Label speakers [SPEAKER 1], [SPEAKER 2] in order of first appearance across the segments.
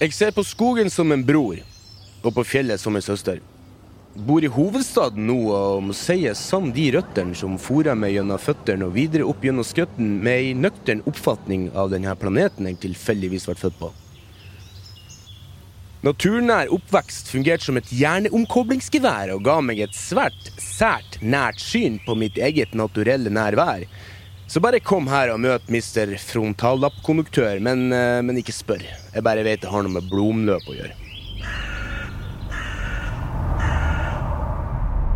[SPEAKER 1] Jeg ser på skogen som en bror, og på fjellet som en søster. Bor i hovedstaden nå og må sie sann de røttene som fora meg gjennom føttene og videre opp gjennom skøtten med ei nøktern oppfatning av denne planeten jeg tilfeldigvis ble født på. Naturnær oppvekst fungerte som et hjerneomkoblingsgevær og ga meg et svært sært nært syn på mitt eget naturelle nærvær. Så bare kom her og møt mister frontallappkonduktør, men, eh, men ikke spør. Jeg bare vet det har noe med blodomløp å gjøre.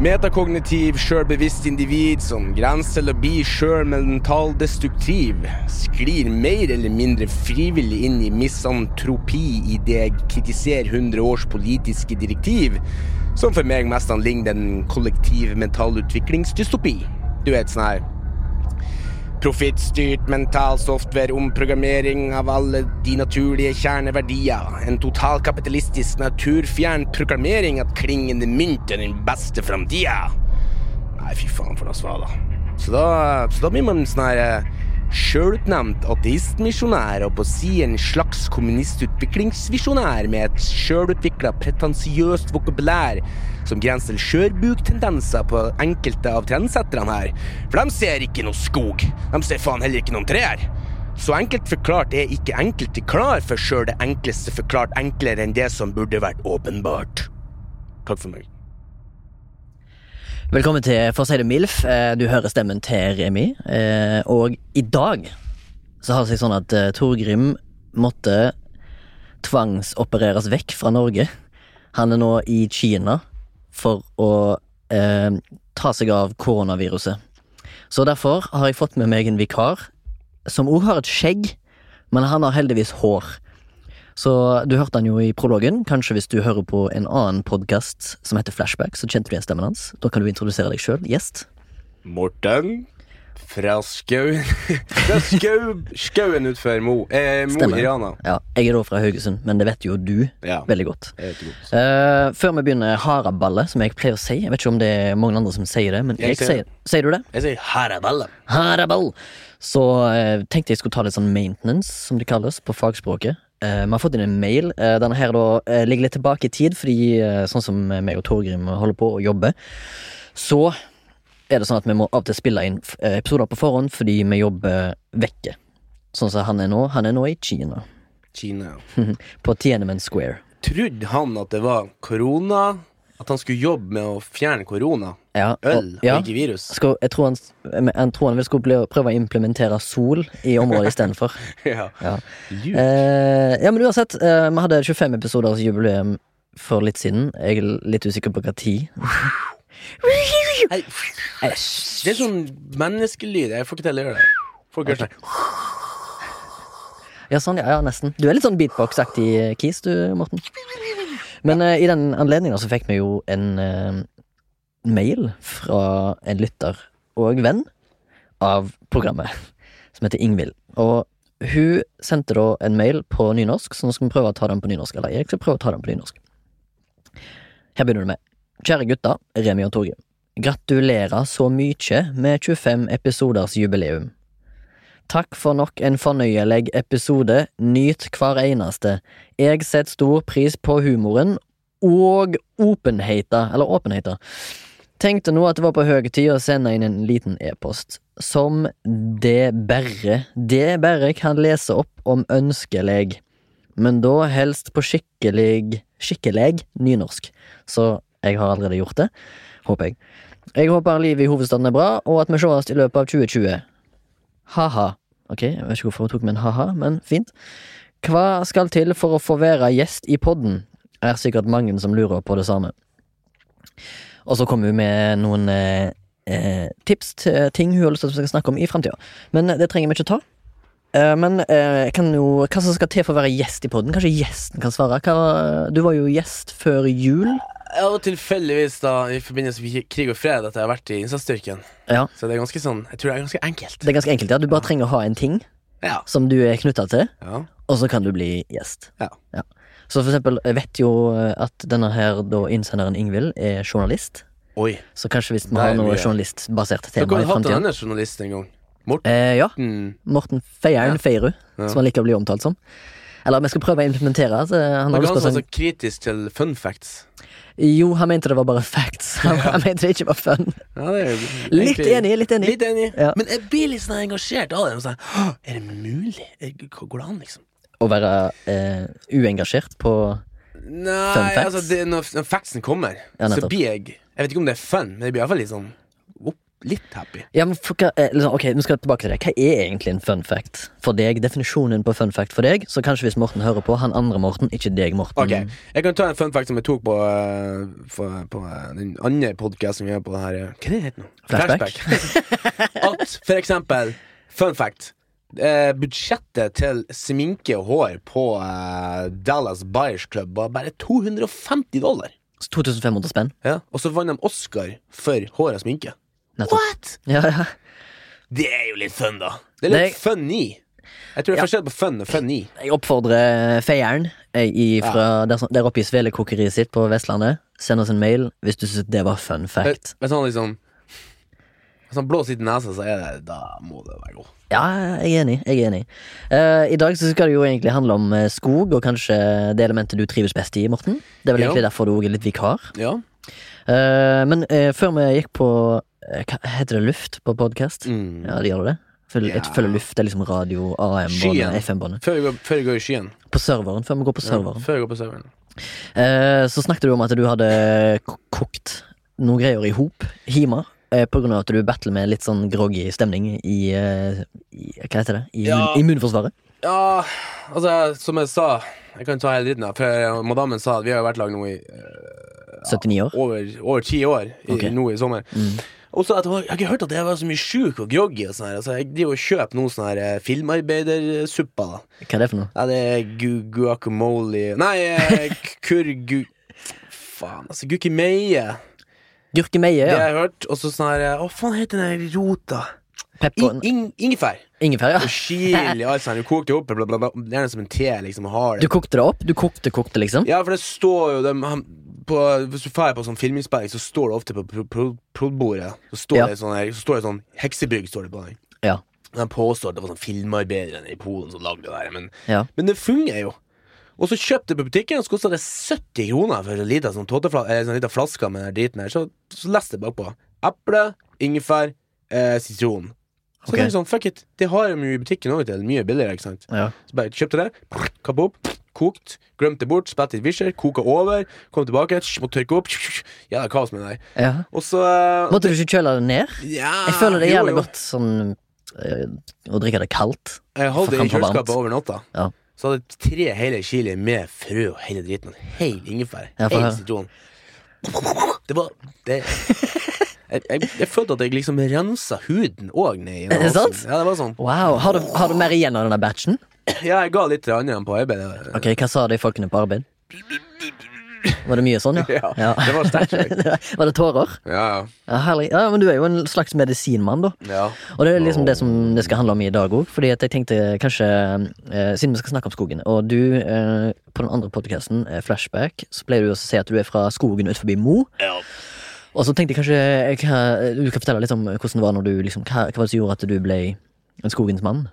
[SPEAKER 1] Metakognitiv, sjølbevisst individ som grenser til å bli sjølmentaldestruktiv, sklir mer eller mindre frivillig inn i misantropi idet jeg kritiserer 100 års politiske direktiv, som for meg mest ligner en kollektiv mentalutviklingsdystopi. Du vet sånn her Profittstyrt mental software, omprogrammering av alle de naturlige kjerneverdier. En totalkapitalistisk naturfjern proklamering at klingende mynt er den beste framtida. Nei, fy faen for noe svar, da. Så da, så da blir man sånn her eh, sjølutnevnt ateistmisjonær og på si en slags kommunistutviklingsvisjonær med et sjølutvikla pretensiøst vokabulær som grenser til skjørbuktendenser på enkelte av trendsetterne her. For de ser ikke noe skog. De ser faen heller ikke noen trær. Så enkelt forklart er ikke enkelte klar for sjøl det enkleste forklart enklere enn det som burde vært åpenbart. Takk for meg.
[SPEAKER 2] Velkommen til For å si det MILF. Eh, Du hører stemmen til Remi. Eh, Og i dag så har det seg sånn at eh, Tor Grim måtte tvangsopereres vekk fra Norge. Han er nå i Kina for å eh, ta seg av koronaviruset. Så derfor har jeg fått med meg en vikar som òg har et skjegg, men han har heldigvis hår. Så du hørte han jo i prologen. Kanskje hvis du hører på en annen podkast som heter Flashback, så kjente du igjen stemmen hans. Da kan du introdusere deg sjøl. Gjest.
[SPEAKER 1] Morten fra Skauen Fra skau, Skauen utfor Mo. Eh, Mo
[SPEAKER 2] Stemmer.
[SPEAKER 1] i Rana.
[SPEAKER 2] Ja, jeg er da fra Haugesund, men det vet jo du
[SPEAKER 1] Ja.
[SPEAKER 2] veldig godt.
[SPEAKER 1] jeg vet ikke godt.
[SPEAKER 2] Eh, før vi begynner haraballet, som jeg pleier å si Jeg vet ikke om det er mange andre som sier det, men jeg,
[SPEAKER 1] Jeg sier
[SPEAKER 2] sier, sier du det?
[SPEAKER 1] Jeg sier Haraballa.
[SPEAKER 2] Haraball! Så eh, tenkte jeg skulle ta litt sånn maintenance, som det kalles, på fagspråket. Eh, Vi har fått inn en mail. Eh, Denne her da eh, ligger litt tilbake i tid, fordi eh, sånn som meg og Torgrim holder på å jobbe, så er det sånn at vi må av og til spille inn f- eh, episoder på forhånd fordi vi jobber vekke. Sånn som han er nå. Han er nå i Kina.
[SPEAKER 1] Kina.
[SPEAKER 2] På Tiananmen Square.
[SPEAKER 1] Trodde han at det var korona? At han skulle jobbe med å fjerne korona?
[SPEAKER 2] Ja, og-
[SPEAKER 1] Øl,
[SPEAKER 2] ja.
[SPEAKER 1] og ikke virus?
[SPEAKER 2] Skal, jeg tror han, s- eh, han, tror han vil skulle bli- prøve å implementere sol i området istedenfor.
[SPEAKER 1] ja.
[SPEAKER 2] Ja.
[SPEAKER 1] Lurt.
[SPEAKER 2] Eh, ja, men uansett, eh, vi hadde 25 episoders jubileum for litt siden. Jeg er litt usikker på hva tid.
[SPEAKER 1] Nei, Det er sånn menneskelyd. Jeg får ikke til å gjøre det. Folk gjør sånn
[SPEAKER 2] Ja, sånn, ja, ja, nesten. Du er litt sånn beatbox-aktig eh, kis, du, Morten. Men eh, i den anledningen så fikk vi jo en eh, mail fra en lytter og venn av programmet, som heter Ingvild. Og hun sendte da en mail på nynorsk, så nå skal vi prøve å ta den på nynorsk. Eller jeg skal prøve å ta den på nynorsk. Her begynner det med. Kjære gutter, Remi og Torgrim. Gratulerer så mykje med 25 episoders jubileum. Takk for nok en fornøyelig episode. Nyt hver eneste. Jeg setter stor pris på humoren og åpenheten, eller åpenheten. Tenkte nå at det var på høy tid å sende inn en liten e-post, som det bare, det bare kan lese opp om ønskelig, men da helst på skikkelig, skikkelig nynorsk. Så jeg har allerede gjort det, håper jeg. Jeg håper livet i hovedstaden er bra, og at vi sees i løpet av 2020. Ha-ha. Ok, jeg vet ikke hvorfor hun tok med en ha-ha, men fint. Hva skal til for å få være gjest i podden? Er sikkert mange som lurer på det samme. Og så kommer hun med noen eh, eh, tips til ting hun har lyst til at eh, vi skal snakke om i fremtiden Men det trenger vi ikke ta. Eh, Men eh, jeg kan jo, hva som skal til for å være gjest i podden? Kanskje gjesten kan svare? Hva, du var jo gjest før jul.
[SPEAKER 1] Jeg var tilfeldigvis da i forbindelse med krig og fred at jeg har vært i innsatsstyrken.
[SPEAKER 2] Ja.
[SPEAKER 1] Så det er ganske sånn Jeg tror det er ganske enkelt.
[SPEAKER 2] Det er ganske enkelt, ja. Du bare trenger å ha en ting
[SPEAKER 1] Ja.
[SPEAKER 2] som du er knytta til,
[SPEAKER 1] ja.
[SPEAKER 2] og så kan du bli gjest.
[SPEAKER 1] Ja.
[SPEAKER 2] Så for eksempel, jeg vet jo eh, at denne her da innsenderen Ingvild er journalist.
[SPEAKER 1] Oi.
[SPEAKER 2] Så kanskje hvis vi
[SPEAKER 1] Det
[SPEAKER 2] har
[SPEAKER 1] er
[SPEAKER 2] noe
[SPEAKER 1] mye.
[SPEAKER 2] journalistbasert tema
[SPEAKER 1] Dere
[SPEAKER 2] i
[SPEAKER 1] har hatt en
[SPEAKER 2] fremtiden
[SPEAKER 1] annen journalist en gang.
[SPEAKER 2] eh, Ja.
[SPEAKER 1] Mm.
[SPEAKER 2] Morten Feieren Feirud,
[SPEAKER 1] Ja.
[SPEAKER 2] som han liker å bli omtalt som. Eller vi skal prøve å implementere. Så han
[SPEAKER 1] Dere
[SPEAKER 2] har lyst på
[SPEAKER 1] har som var
[SPEAKER 2] sånn
[SPEAKER 1] så altså kritisk til fun facts.
[SPEAKER 2] Jo, han mente det var bare facts. Han, han mente det ikke var fun.
[SPEAKER 1] Ja, det er jo
[SPEAKER 2] Litt
[SPEAKER 1] egentlig-
[SPEAKER 2] enig, litt enig.
[SPEAKER 1] Litt enig.
[SPEAKER 2] Ja.
[SPEAKER 1] Men jeg blir litt sånn engasjert av det. Og sånn, «Åh, er det mulig? Er- Går det an, liksom?
[SPEAKER 2] Å være eh, uengasjert på Fun
[SPEAKER 1] Nei,
[SPEAKER 2] facts?
[SPEAKER 1] altså det, når, når factsen kommer,
[SPEAKER 2] Ja,
[SPEAKER 1] så
[SPEAKER 2] nettopp.
[SPEAKER 1] blir jeg Jeg vet ikke om det er fun, men jeg blir iallfall litt sånn opp, litt happy.
[SPEAKER 2] Ja, men for, hva- eh, liksom, Ok, nå skal jeg tilbake til det. Hva er egentlig en fun fact for deg? Definisjonen på fun fact for deg? Så kanskje hvis Morten hører på, han andre Morten, ikke deg, Morten.
[SPEAKER 1] Ok, Jeg kan ta en fun fact som jeg tok på, eh, for- på eh, den andre podkasten vi gjør på det her eh, Hva er det heter nå?
[SPEAKER 2] Flashback.
[SPEAKER 1] Flashback. At for eksempel Fun fact. Eh, budsjettet til sminke og hår på eh, Dallas Buyers Club var bare 250 dollar.
[SPEAKER 2] Så 2500 spenn.
[SPEAKER 1] Ja. Og så vant de Oscar for hår og sminke.
[SPEAKER 2] Nettopp.
[SPEAKER 1] What?!
[SPEAKER 2] Ja, ja.
[SPEAKER 1] Det er jo litt fun, da. Det er litt
[SPEAKER 2] Det-
[SPEAKER 1] funny. Jeg tror det er
[SPEAKER 2] Ja.
[SPEAKER 1] forskjell på fun og funny.
[SPEAKER 2] Jeg oppfordrer Feieren eh, i- fra der, som- der oppe i svelekokeriet sitt på Vestlandet. Send oss en mail hvis du syns det var fun fact.
[SPEAKER 1] Hvis hvis han liksom Hvis han blåser litt i nesa, så er det Da må det være god.
[SPEAKER 2] Ja, jeg er enig. jeg er enig Eh, I dag så skal det jo egentlig handle om eh, skog, og kanskje det elementet du trives best i, Morten. Det er vel
[SPEAKER 1] Ja.
[SPEAKER 2] egentlig derfor du også er litt vikar.
[SPEAKER 1] Ja.
[SPEAKER 2] Eh, men eh, før vi gikk på eh, Hva heter det luft på podkast?
[SPEAKER 1] Mm.
[SPEAKER 2] Ja, det gjør det? Følg,
[SPEAKER 1] Ja.
[SPEAKER 2] Jeg følger luft. Det er liksom radio,
[SPEAKER 1] Skyen.
[SPEAKER 2] AM-båndet, FM-båndet.
[SPEAKER 1] Før, vi går, før vi går i skyen.
[SPEAKER 2] På serveren, før vi går på
[SPEAKER 1] Ja,
[SPEAKER 2] serveren.
[SPEAKER 1] før vi går på serveren.
[SPEAKER 2] Eh, så snakket du om at du hadde k- kokt noen greier i hop hjemme. eh, På grunn av at du battler med litt sånn groggy stemning i, eh, i Hva heter det? I,
[SPEAKER 1] Ja.
[SPEAKER 2] mun- i immunforsvaret.
[SPEAKER 1] Ja, altså, som jeg sa Jeg kan ta hele dritten, da. For madammen sa at vi har jo vært lag nå i eh,
[SPEAKER 2] 79 år.
[SPEAKER 1] over, over ti år i,
[SPEAKER 2] Ok. Mm.
[SPEAKER 1] nå i sommer. Og så at, jeg har ikke hørt at jeg var så mye sjuk og groggy. Og sånn her. Altså, jeg driver og kjøper noe sånn her eh, filmarbeidersuppa. da
[SPEAKER 2] Hva er det for noe?
[SPEAKER 1] Ja, det er gu guacamole Nei, eh, k- kurgu... Faen, altså, gukimeie.
[SPEAKER 2] Gurkemeie,
[SPEAKER 1] Det har
[SPEAKER 2] ja.
[SPEAKER 1] jeg hørt. Og så sånn her eh, Å, faen heter den der rota?
[SPEAKER 2] Pepper
[SPEAKER 1] In, in, ingefær.
[SPEAKER 2] Ingefær,
[SPEAKER 1] Og
[SPEAKER 2] ja.
[SPEAKER 1] chili og alt sånt. Du kokte det opp, bla, bla, bla. gjerne som en te. liksom, og har
[SPEAKER 2] Du
[SPEAKER 1] det
[SPEAKER 2] kokte det opp? Du kokte, kokte, liksom?
[SPEAKER 1] Ja, for det står jo dem- han- på, Hvis du drar på sånn filminnspilling, så står det ofte på pro- pro- prod-bordet Så står
[SPEAKER 2] Ja.
[SPEAKER 1] det sånn her, så står det sånn Heksebygg står det på den.
[SPEAKER 2] Ja.
[SPEAKER 1] De påstår at det var sånn filmarbeidere i Polen som lagde det der, men,
[SPEAKER 2] Ja.
[SPEAKER 1] men det fungerer jo. Og så kjøpte jeg på butikken, og så kosta det 70 kroner for en liten sånn, tåtefla- eller sånn liten flaske med den driten her. Så, så leste jeg bakpå. Eple, ingefær, eh, sitron. Så
[SPEAKER 2] Ok.
[SPEAKER 1] tenkte jeg sånn, fuck it, det har de jo i butikken òg, til mye billigere, ikke sant.
[SPEAKER 2] ja.
[SPEAKER 1] Så bare kjøpte det, kappa opp, kokt, glemte det bort, spett i et visjer, koka over, kom tilbake, tsk, måtte tørke opp. tsk, tsk, Ja, det er kaos med det der.
[SPEAKER 2] ja.
[SPEAKER 1] Og så eh,
[SPEAKER 2] Måtte du ikke kjøle det ned?
[SPEAKER 1] ja,
[SPEAKER 2] Jeg føler det er
[SPEAKER 1] jo,
[SPEAKER 2] jævlig
[SPEAKER 1] jo.
[SPEAKER 2] godt sånn eh, å drikke det kaldt.
[SPEAKER 1] Jeg holdt det i
[SPEAKER 2] Faen, for varmt.
[SPEAKER 1] kjøleskapet over natta.
[SPEAKER 2] Ja.
[SPEAKER 1] Så hadde jeg tre hele chili med frø og hele driten. og en Hel ingefær.
[SPEAKER 2] Ja, for her.
[SPEAKER 1] hel sitron. Det var det, jeg, jeg, jeg følte at jeg liksom rensa huden òg ned i
[SPEAKER 2] Er det sant?
[SPEAKER 1] Ja, det var sånn.
[SPEAKER 2] Wow, Har du, har du mer igjen av denne batchen?
[SPEAKER 1] Ja, jeg ga litt til andre enn på arbeidet.
[SPEAKER 2] Ok, Hva sa de folkene på arbeid? Var det mye sånn, ja?
[SPEAKER 1] Ja, det var sterkt,
[SPEAKER 2] var det tårer?
[SPEAKER 1] Ja, ja.
[SPEAKER 2] Ja, herlig. Ja, men du er jo en slags medisinmann, da.
[SPEAKER 1] ja.
[SPEAKER 2] Og det er liksom det som det skal handle om i dag òg. Fordi at jeg tenkte kanskje eh, Siden vi skal snakke om skogen, og du eh, på den andre podkasten, eh, Flashback, så pleier du også å si at du er fra skogen utenfor Mo.
[SPEAKER 1] ja.
[SPEAKER 2] Og så tenkte jeg kanskje jeg, kan- Du kan fortelle litt om hvordan det var når du liksom, hva, hva var det som gjorde at du ble en skogens mann?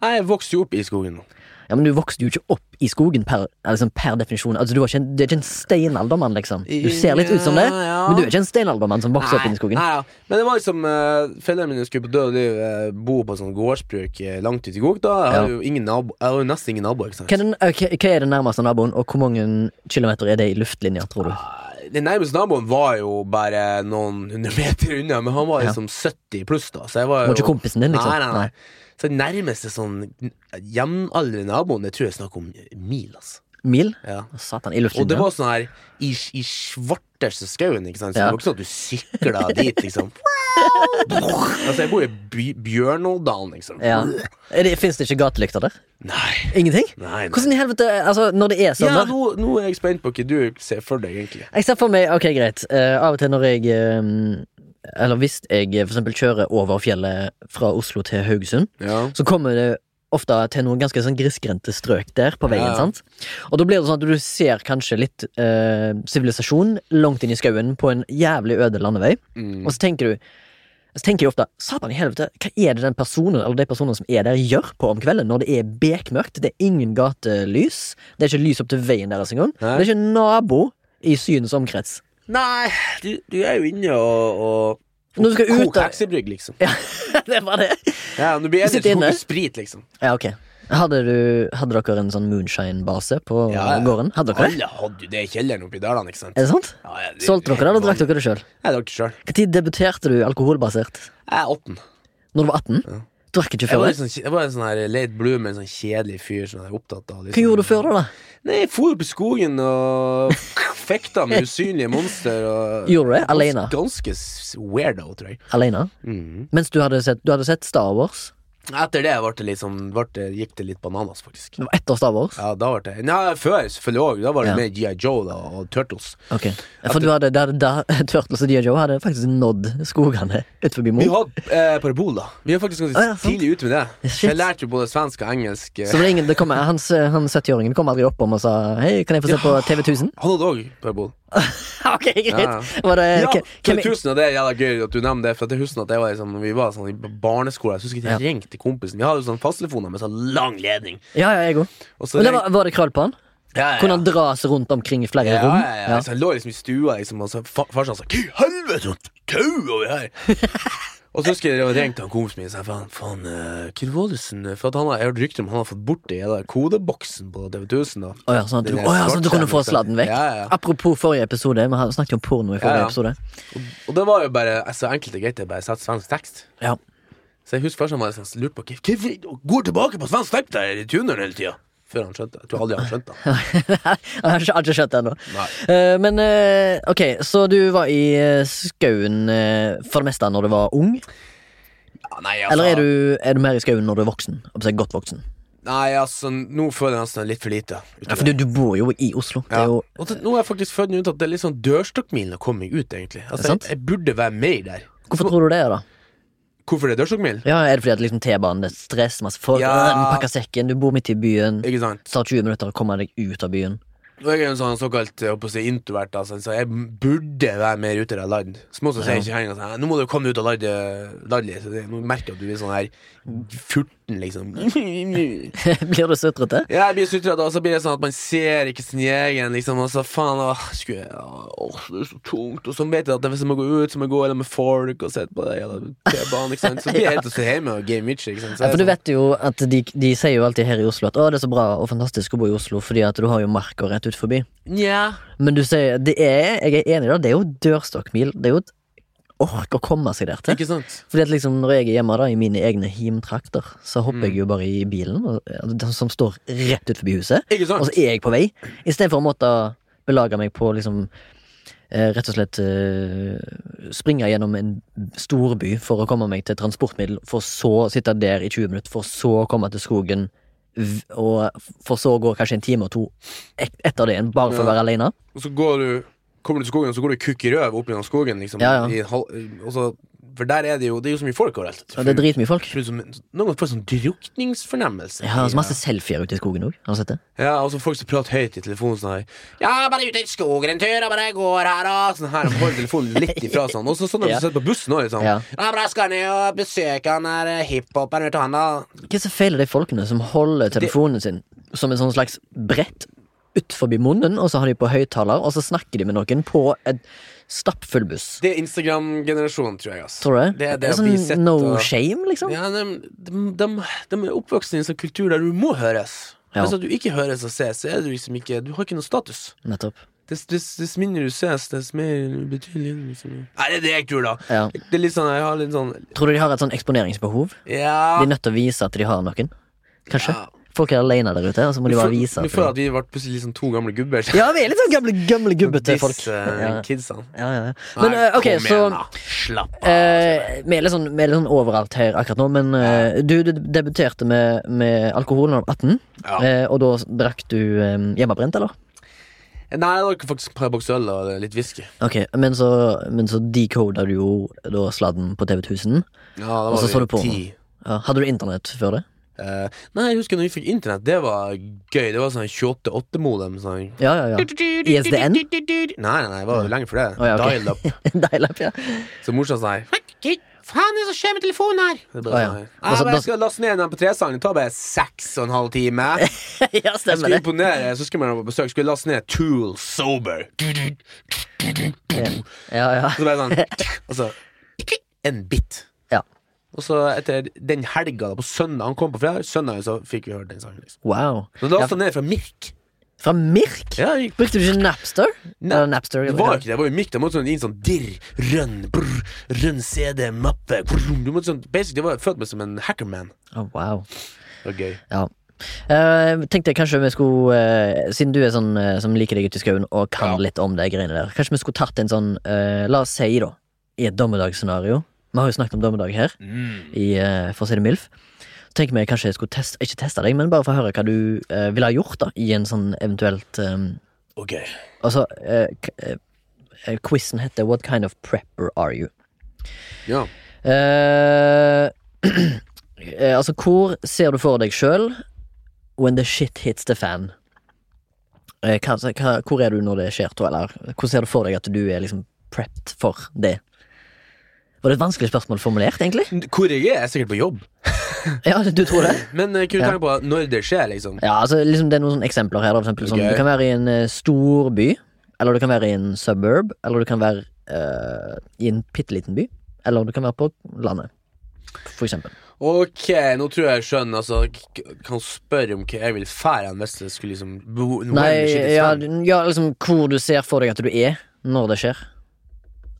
[SPEAKER 1] Nei, Jeg vokste jo opp i skogen. nå.
[SPEAKER 2] Ja, men Du vokste jo ikke opp i skogen per, liksom per definisjon. Altså, du var ikke en, Du er ikke en steinaldermann, liksom. Du ser litt ut som det,
[SPEAKER 1] Ja, ja.
[SPEAKER 2] men du er ikke en steinaldermann som vokser opp
[SPEAKER 1] Nei,
[SPEAKER 2] inn i skogen.
[SPEAKER 1] Nei, ja. Men det var liksom uh, Foreldrene mine skulle på død og liv eh, bo på sånn gårdsbruk eh, langt ute i Gokta. Jeg har
[SPEAKER 2] Ja.
[SPEAKER 1] jo ingen nabo Jeg har jo nesten ingen naboer. ikke sant?
[SPEAKER 2] Hva er, den, ok, hva er den nærmeste naboen, og hvor mange kilometer er det i luftlinja, tror du?
[SPEAKER 1] Den nærmeste naboen var jo bare noen hundre meter unna, men han var liksom 70 pluss, da. Så jeg var jo
[SPEAKER 2] Var ikke kompisen din, liksom?
[SPEAKER 1] Nei, nei, nei. Så den nærmeste sånn jevnaldrende naboen, det tror jeg er snakk om mil, altså.
[SPEAKER 2] Mil?
[SPEAKER 1] Ja.
[SPEAKER 2] Satan, i
[SPEAKER 1] Og det
[SPEAKER 2] luftlinja.
[SPEAKER 1] var sånn her i, i svarteste skauen, ikke sant? Så
[SPEAKER 2] Ja.
[SPEAKER 1] det var ikke sånn at du sykla dit, liksom. altså, jeg bor i by Bjørnådalen, liksom.
[SPEAKER 2] Ja. Er det- Fins det ikke gatelykter der?
[SPEAKER 1] Nei.
[SPEAKER 2] Ingenting?
[SPEAKER 1] Nei, nei.
[SPEAKER 2] Hvordan i helvete Altså, når det er sånn
[SPEAKER 1] Ja,
[SPEAKER 2] da-
[SPEAKER 1] nå, nå er jeg spent på hva du ser for deg, egentlig.
[SPEAKER 2] Jeg ser for meg Ok, greit. Eh, av og til når jeg eh, Eller hvis jeg eh, for eksempel kjører over fjellet fra Oslo til Haugesund,
[SPEAKER 1] Ja.
[SPEAKER 2] så kommer det ofte til noen ganske sånn grisgrendte strøk der på veien.
[SPEAKER 1] Ja.
[SPEAKER 2] sant? Og da blir det sånn at du ser kanskje litt eh, sivilisasjon langt inn i skauen på en jævlig øde landevei,
[SPEAKER 1] Mm.
[SPEAKER 2] og så tenker du så tenker jeg ofte Satan i helvete, hva er det den personen eller de personene som er der, gjør på om kvelden når det er bekmørkt? Det er ingen gatelys. Det er ikke lys opp til veien deres engang. Det
[SPEAKER 1] Nei.
[SPEAKER 2] er ikke en nabo i synens omkrets.
[SPEAKER 1] Nei, du, du er jo inne og, og
[SPEAKER 2] Når du skal ut
[SPEAKER 1] Kok
[SPEAKER 2] av-
[SPEAKER 1] heksebrygg, liksom.
[SPEAKER 2] det var det.
[SPEAKER 1] Ja, Når du blir enig,
[SPEAKER 2] Sitte
[SPEAKER 1] så koker
[SPEAKER 2] inne.
[SPEAKER 1] du sprit, liksom.
[SPEAKER 2] Ja, ok. Hadde, du, hadde dere en sånn moonshine-base på
[SPEAKER 1] Ja, ja.
[SPEAKER 2] gården? Hadde dere det?
[SPEAKER 1] Alle hadde jo det i kjelleren oppe i dalene, ikke sant?
[SPEAKER 2] Er det sant?
[SPEAKER 1] Ja, ja, det-
[SPEAKER 2] Solgte dere det, eller drakk dere det sjøl?
[SPEAKER 1] Jeg drakk det sjøl.
[SPEAKER 2] Når debuterte du alkoholbasert?
[SPEAKER 1] Jeg er 18.
[SPEAKER 2] Når du var 18?
[SPEAKER 1] Ja.
[SPEAKER 2] Drakk ikke
[SPEAKER 1] Jeg
[SPEAKER 2] før
[SPEAKER 1] var,
[SPEAKER 2] det?
[SPEAKER 1] litt sånn, jeg var en sånn her late bloomer, en sånn kjedelig fyr som jeg er opptatt av. liksom.
[SPEAKER 2] Hva gjorde du før da? da?
[SPEAKER 1] Nei, jeg for opp i skogen og fekta med usynlige monster. Og...
[SPEAKER 2] Gjorde du det? Alene?
[SPEAKER 1] Ganske s- weirdo, tror jeg.
[SPEAKER 2] Alene? Mens du hadde sett, du hadde sett Star Wars?
[SPEAKER 1] Etter det ble det litt sånn- ble det, gikk det litt bananas, faktisk.
[SPEAKER 2] Det var etter Star Wars?
[SPEAKER 1] Ja, da ble det Nei, før selvfølgelig òg. Da var det
[SPEAKER 2] Ja.
[SPEAKER 1] mer GI Joe da, og Turtles.
[SPEAKER 2] Ok. For du hadde, da, da, Turtles og DJ Joe hadde faktisk nådd skogene ut forbi
[SPEAKER 1] Vi
[SPEAKER 2] Mo.
[SPEAKER 1] hadde eh, parabol, da. Vi er faktisk ganske
[SPEAKER 2] Ah, Oh. ja, sant.
[SPEAKER 1] tidlig ute med det.
[SPEAKER 2] Shit.
[SPEAKER 1] Jeg lærte jo både svensk og engelsk. eh.
[SPEAKER 2] Så det var ingen, det kom, han, han 70-åringen kom aldri opp om og sa Hei, kan jeg få se på TV 1000?
[SPEAKER 1] Han hadde òg parabol.
[SPEAKER 2] ok, greit.
[SPEAKER 1] Ja,
[SPEAKER 2] Var det
[SPEAKER 1] Ja,
[SPEAKER 2] hvem- hvem-
[SPEAKER 1] 2000, og det er jævla gøy at du nevner det. For at jeg husker at jeg var liksom, når vi var sånn i barneskolen, jeg husker ikke jeg ringte kompisen. Vi hadde jo sånn fasttelefoner med sånn lang ledning.
[SPEAKER 2] Ja, ja, jeg òg.
[SPEAKER 1] Og så
[SPEAKER 2] Men det
[SPEAKER 1] ringte-
[SPEAKER 2] var, var det krøll på han?
[SPEAKER 1] ja, ja,
[SPEAKER 2] Kunne han dras rundt omkring i flere
[SPEAKER 1] ja, ja,
[SPEAKER 2] rom?
[SPEAKER 1] ja, ja. Så jeg lå liksom i stua, liksom, og så fa farsan sa 'Hva i helvete, sånn tau over her?' Og så husker jeg jeg ringte han kompisen min og sa 'Faen, faen, eh, Kid Wallison eh, For at han har, jeg har hørt rykter om han har fått borti den der kodeboksen på TV1000, da.
[SPEAKER 2] Å ja, sånn at du,
[SPEAKER 1] Den
[SPEAKER 2] å ja, sånn at du kunne få
[SPEAKER 1] svartskjermen,
[SPEAKER 2] sladden vekk.
[SPEAKER 1] Ja, ja.
[SPEAKER 2] Apropos forrige episode, vi har- snakket jo om porno i forrige
[SPEAKER 1] Ja, ja.
[SPEAKER 2] episode.
[SPEAKER 1] Og det var jo bare altså, enkelt og greit det er bare sette svensk tekst.
[SPEAKER 2] Ja.
[SPEAKER 1] Så jeg husker først han var sånn, lurt på "Hva- Hvorfor går tilbake på svensk tekst der i tuneren hele tida? Før han skjønte det. Jeg tror aldri han skjønte det.
[SPEAKER 2] Jeg har ikke- har ikke skjønt det ennå.
[SPEAKER 1] Nei.
[SPEAKER 2] Eh, Men eh, ok, så du var i eh, skauen eh, for det meste når du var ung?
[SPEAKER 1] Ja, nei, altså,
[SPEAKER 2] Eller er du, er du mer i skauen når du er voksen? Altså, Jeg håper å si Godt voksen.
[SPEAKER 1] Nei, altså, nå føler jeg nesten litt for lite.
[SPEAKER 2] Ja, for du, du bor jo i Oslo. Det
[SPEAKER 1] Ja.
[SPEAKER 2] er jo
[SPEAKER 1] Og det, nå er jeg faktisk født ut at det er litt sånn dørstokkmilen å komme ut, egentlig. Altså, jeg,
[SPEAKER 2] sant?
[SPEAKER 1] jeg burde være med der.
[SPEAKER 2] Hvorfor tror du det, er da?
[SPEAKER 1] Hvorfor det er dørstokkmilen?
[SPEAKER 2] Ja, Er det fordi at liksom T-banen det er stress, masse folk,
[SPEAKER 1] Ja.
[SPEAKER 2] øh, du pakker sekken, du bor midt i byen, det
[SPEAKER 1] Ikke sant?
[SPEAKER 2] tar 20 minutter å komme deg ut av byen?
[SPEAKER 1] Og jeg er jo en sånn såkalt jeg holdt på å si, introvert, altså, så jeg burde være mer ute av land. Som også sier
[SPEAKER 2] Ja.
[SPEAKER 1] ikke henger sånn, nå må du komme deg ut av land, landlig, så det, nå merker jeg at du blir sånn her 14, liksom. ja,
[SPEAKER 2] Blir du sutrete?
[SPEAKER 1] jeg blir sutret, og så blir det sånn at man ser ikke sin egen, liksom, og så faen, åh, skulle jeg, åh, det er så tungt, og så vet jeg at hvis jeg må gå ut, så må jeg gå eller med folk, og sette på det, eller T-banen, ikke sant, så blir jeg helt å se hjemme og game itch, ikke sant. Så
[SPEAKER 2] Ja,
[SPEAKER 1] jeg
[SPEAKER 2] for
[SPEAKER 1] er
[SPEAKER 2] du
[SPEAKER 1] sånn-
[SPEAKER 2] vet jo at de, de sier jo alltid her i Oslo at å, det er så bra og fantastisk å bo i Oslo fordi at du har jo marka rett ut forbi.
[SPEAKER 1] Nja.
[SPEAKER 2] Men du sier, det er, jeg er enig i det, det er jo dørstokkmil. Det er jo et ork å komme seg der til.
[SPEAKER 1] Ikke sant?
[SPEAKER 2] Fordi at liksom Når jeg er hjemme da, i mine egne himtrakter, så hopper
[SPEAKER 1] Mm.
[SPEAKER 2] jeg jo bare i bilen og, altså, den som står rett ut forbi huset,
[SPEAKER 1] Ikke sant?
[SPEAKER 2] og så er jeg på vei. Istedenfor å måtte belage meg på liksom eh, Rett og slett eh, springe gjennom en storby for å komme meg til transportmiddel, for så å sitte der i 20 minutter, for så å komme til skogen, v- og for så å gå kanskje en time og to ek- etter det igjen, bare for å
[SPEAKER 1] Ja.
[SPEAKER 2] være alene.
[SPEAKER 1] Og så går du Kommer du til skogen, så går du kukk i røv opp gjennom skogen. Liksom,
[SPEAKER 2] Ja, ja.
[SPEAKER 1] i en halv- og så, for der er det jo Det er jo så mye folk overalt.
[SPEAKER 2] Og det er dritmye folk.
[SPEAKER 1] Føles som- Noen ganger får jeg sånn drukningsfornemmelse.
[SPEAKER 2] Jeg har altså masse selfier ute i skogen òg. Har du sett det?
[SPEAKER 1] Ja, og så folk som prater høyt i telefonen sånn her. Ja, bare ute i skogen en tur, og bare går her og Sånn her, og holder telefonen litt ifra sånn. Og så sånn når
[SPEAKER 2] Ja.
[SPEAKER 1] du sitter på bussen òg, liksom.
[SPEAKER 2] Ja.
[SPEAKER 1] Ja. bare jeg skal ned og besøke han der eh, hiphoperen, vet du han da.
[SPEAKER 2] Hva er det som feiler de folkene som holder telefonen sin som en sånn slags brett ut forbi munnen, og så har de på høyttaler, og så snakker de med noen på en stappfull buss?
[SPEAKER 1] Det er Instagram-generasjonen, tror jeg, ass.
[SPEAKER 2] Tror du det?
[SPEAKER 1] Det er det vi
[SPEAKER 2] sånn
[SPEAKER 1] sitter
[SPEAKER 2] no
[SPEAKER 1] og-
[SPEAKER 2] shame, liksom?
[SPEAKER 1] Ja, de, de, de, de er oppvokst i en sånn kultur der du må høres.
[SPEAKER 2] Ja.
[SPEAKER 1] Hvis at du ikke høres og ses, så er du liksom ikke Du har ikke noe status.
[SPEAKER 2] Nettopp.
[SPEAKER 1] Dess, dess, dess mindre du ses, dess mer betydelig er du liksom. Nei, det er det jeg tror, da.
[SPEAKER 2] Ja.
[SPEAKER 1] Det er litt sånn, jeg har litt sånn
[SPEAKER 2] Tror du de har et sånn eksponeringsbehov?
[SPEAKER 1] Ja.
[SPEAKER 2] De er nødt til å vise at de har noen? Kanskje?
[SPEAKER 1] ja.
[SPEAKER 2] Folk er alene der ute, og så må de bare vise
[SPEAKER 1] Vi
[SPEAKER 2] at
[SPEAKER 1] føler at vi ble plutselig litt sånn to gamle gubber.
[SPEAKER 2] Ja, vi er litt sånn gamle, gamle gubbete
[SPEAKER 1] Disse,
[SPEAKER 2] folk.
[SPEAKER 1] eh,
[SPEAKER 2] Ja,
[SPEAKER 1] kidsene.
[SPEAKER 2] ja, ja. Men
[SPEAKER 1] Nei,
[SPEAKER 2] eh, ok,
[SPEAKER 1] kom
[SPEAKER 2] så
[SPEAKER 1] igjen, da. Slapp av.
[SPEAKER 2] eh, Vi er litt sånn, vi er litt sånn overalt her akkurat nå, men eh, du, du debuterte med, med alkohol da du var 18,
[SPEAKER 1] Ja.
[SPEAKER 2] eh, og da drakk du eh, hjemmebrent, eller?
[SPEAKER 1] Nei, jeg drakk faktisk et par boks øl og litt whisky.
[SPEAKER 2] Ok, men så, men så decoda du jo da sladden på TV 1000.
[SPEAKER 1] Ja, da
[SPEAKER 2] Og så
[SPEAKER 1] var
[SPEAKER 2] så du
[SPEAKER 1] vi
[SPEAKER 2] på
[SPEAKER 1] ti.
[SPEAKER 2] Ja, hadde du internett før det?
[SPEAKER 1] Eh, nei, jeg husker når vi fikk internett. Det var gøy. Det var sånn 28-8-modem. Sånn.
[SPEAKER 2] Ja, ja, ja. ISDN?
[SPEAKER 1] Nei, nei, nei, det var jo lenge for det.
[SPEAKER 2] Å, ja, ok.
[SPEAKER 1] Dial up.
[SPEAKER 2] Dial-up, ja.
[SPEAKER 1] Så morsomt sånn her. Hva faen er det som skjer med telefonen her? Det er bare
[SPEAKER 2] Å, ja.
[SPEAKER 1] sånn
[SPEAKER 2] Og
[SPEAKER 1] her.
[SPEAKER 2] så-
[SPEAKER 1] Jeg
[SPEAKER 2] da-
[SPEAKER 1] bare skal laste ned en MP3-sang. Det tar bare seks og en halv time.
[SPEAKER 2] ja, stemmer
[SPEAKER 1] Jeg skulle
[SPEAKER 2] det.
[SPEAKER 1] imponere, så skulle man på besøk. Skulle laste ned Tool Sober.
[SPEAKER 2] Ja, ja.
[SPEAKER 1] Og så bare sånn Og så En bit.
[SPEAKER 2] Ja.
[SPEAKER 1] Og så etter den helga, da, på søndag Han kom på fredag, søndag så fikk vi hørt den sangen. liksom
[SPEAKER 2] Wow.
[SPEAKER 1] Så lasta han ned fra Mirk.
[SPEAKER 2] Fra Mirk?
[SPEAKER 1] Ja, jeg-
[SPEAKER 2] Brukte du ikke Napster?
[SPEAKER 1] Ne-
[SPEAKER 2] Eller Napster
[SPEAKER 1] det var jo ikke det, det var jo Mirk. Da måtte du sånn inn sånn dirr, rønn, brr, rønn CD, mappe brr, Du måtte sånn Basically, det var følt meg som en hackerman.
[SPEAKER 2] Å, wow.
[SPEAKER 1] Det var gøy.
[SPEAKER 2] Ja. Eh, tenkte jeg kanskje vi skulle eh, Siden du er sånn eh, som liker deg ute i skauen og kan
[SPEAKER 1] Ja.
[SPEAKER 2] litt om de greiene der, kanskje vi skulle tatt en sånn eh, La oss si, da, i et dommedagsscenario Vi har jo snakket om dommedag her,
[SPEAKER 1] Mm.
[SPEAKER 2] i, eh, for å si det mildt. Så tenker vi kanskje jeg skulle teste Ikke teste deg, men bare få høre hva du eh, ville ha gjort da i en sånn eventuelt eh,
[SPEAKER 1] Ok.
[SPEAKER 2] Altså, eh, k- eh, eh, quizen heter What kind of prepper are you?
[SPEAKER 1] Ja.
[SPEAKER 2] Eh, eh, altså, hvor ser du for deg sjøl when the shit hits the fan? Eh, hva, hva, hvor er du når det skjer, tror jeg? Eller hvor ser du for deg at du er liksom prepped for det? Var det et vanskelig spørsmål formulert, egentlig?
[SPEAKER 1] Hvor jeg er, jeg er sikkert på jobb.
[SPEAKER 2] Ja, du tror det?
[SPEAKER 1] Men eh, kunne du
[SPEAKER 2] Ja.
[SPEAKER 1] tenke på når det skjer, liksom?
[SPEAKER 2] Ja, altså, liksom, Det er noen sånne eksempler her. Da, for eksempel, sånn,
[SPEAKER 1] Ok.
[SPEAKER 2] Du kan være i en eh, stor by, eller du kan være i en suburb, eller du kan være eh, i en bitte liten by, eller du kan være på landet, for eksempel.
[SPEAKER 1] Ok, nå tror jeg jeg skjønner. Altså, k- k- kan spørre om hva jeg vil fære han hvis det skulle liksom bo, noe
[SPEAKER 2] Nei,
[SPEAKER 1] eller shit i
[SPEAKER 2] ja,
[SPEAKER 1] stand.
[SPEAKER 2] ja, liksom hvor du ser for deg at du er når det skjer.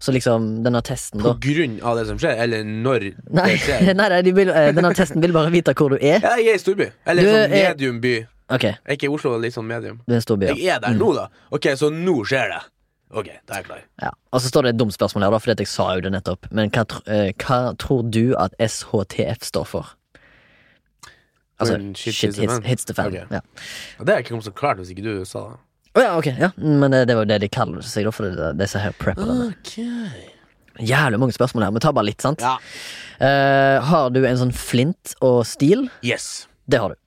[SPEAKER 2] Så liksom, denne testen,
[SPEAKER 1] På
[SPEAKER 2] da.
[SPEAKER 1] grunn av det som skjer, eller når
[SPEAKER 2] Nei,
[SPEAKER 1] det skjer.
[SPEAKER 2] nei, nei de vil, eh, denne testen vil bare vite hvor du er.
[SPEAKER 1] Ja, jeg er i storby. Eller
[SPEAKER 2] Du
[SPEAKER 1] sånn
[SPEAKER 2] er-
[SPEAKER 1] mediumby.
[SPEAKER 2] Ok,
[SPEAKER 1] Jeg er ikke i Oslo, litt sånn medium.
[SPEAKER 2] det er en stor by. ja. Mm.
[SPEAKER 1] Jeg er der nå, da. Ok, så nå skjer det. Ok, da er jeg klar.
[SPEAKER 2] Ja. Og så står det et dumt spørsmål her, da, fordi at jeg sa jo det nettopp. Men hva, tr- eh, hva tror du at SHTF står for? Altså,
[SPEAKER 1] When
[SPEAKER 2] shit, hits, hits the fan.
[SPEAKER 1] Ok.
[SPEAKER 2] Ja.
[SPEAKER 1] Det er ikke kommet så klart hvis ikke du sa det.
[SPEAKER 2] Å ja, ok, ja. Men eh, det, det var jo det de kaller seg, da, for det, det, disse her prepperne.
[SPEAKER 1] Ok
[SPEAKER 2] Jævlig mange spørsmål her, men ta bare litt, sant?
[SPEAKER 1] Ja.
[SPEAKER 2] Eh, har du en sånn flint og stil?
[SPEAKER 1] Yes.
[SPEAKER 2] Det har du.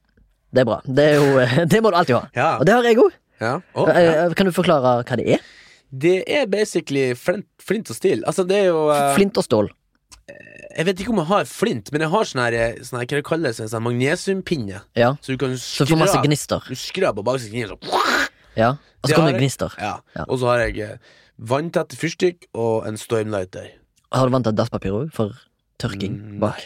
[SPEAKER 2] Det er bra. Det, er jo, eh, det må du alltid ha.
[SPEAKER 1] Ja.
[SPEAKER 2] Og det har jeg òg.
[SPEAKER 1] Ja. Å, ja.
[SPEAKER 2] Eh, Kan du forklare hva det er?
[SPEAKER 1] Det er basically flint, flint og stil. Altså, det er jo eh,
[SPEAKER 2] Flint og stål.
[SPEAKER 1] Jeg vet ikke om jeg har flint, men jeg har sånn her, eh, sånn her hva det kalles, en sånn magnesiumpinne.
[SPEAKER 2] Ja.
[SPEAKER 1] Så du kan
[SPEAKER 2] Så du får masse
[SPEAKER 1] skrape
[SPEAKER 2] gnister.
[SPEAKER 1] Du skraper bak seg gnister, så
[SPEAKER 2] Ja. Og så
[SPEAKER 1] Det
[SPEAKER 2] kommer
[SPEAKER 1] har
[SPEAKER 2] det
[SPEAKER 1] jeg.
[SPEAKER 2] gnister.
[SPEAKER 1] ja.
[SPEAKER 2] Ja.
[SPEAKER 1] Og så har jeg eh, vanntett fyrstikk og en stormlighter.
[SPEAKER 2] Har du vant av dasspapir òg, for tørking
[SPEAKER 1] Mm,
[SPEAKER 2] bak?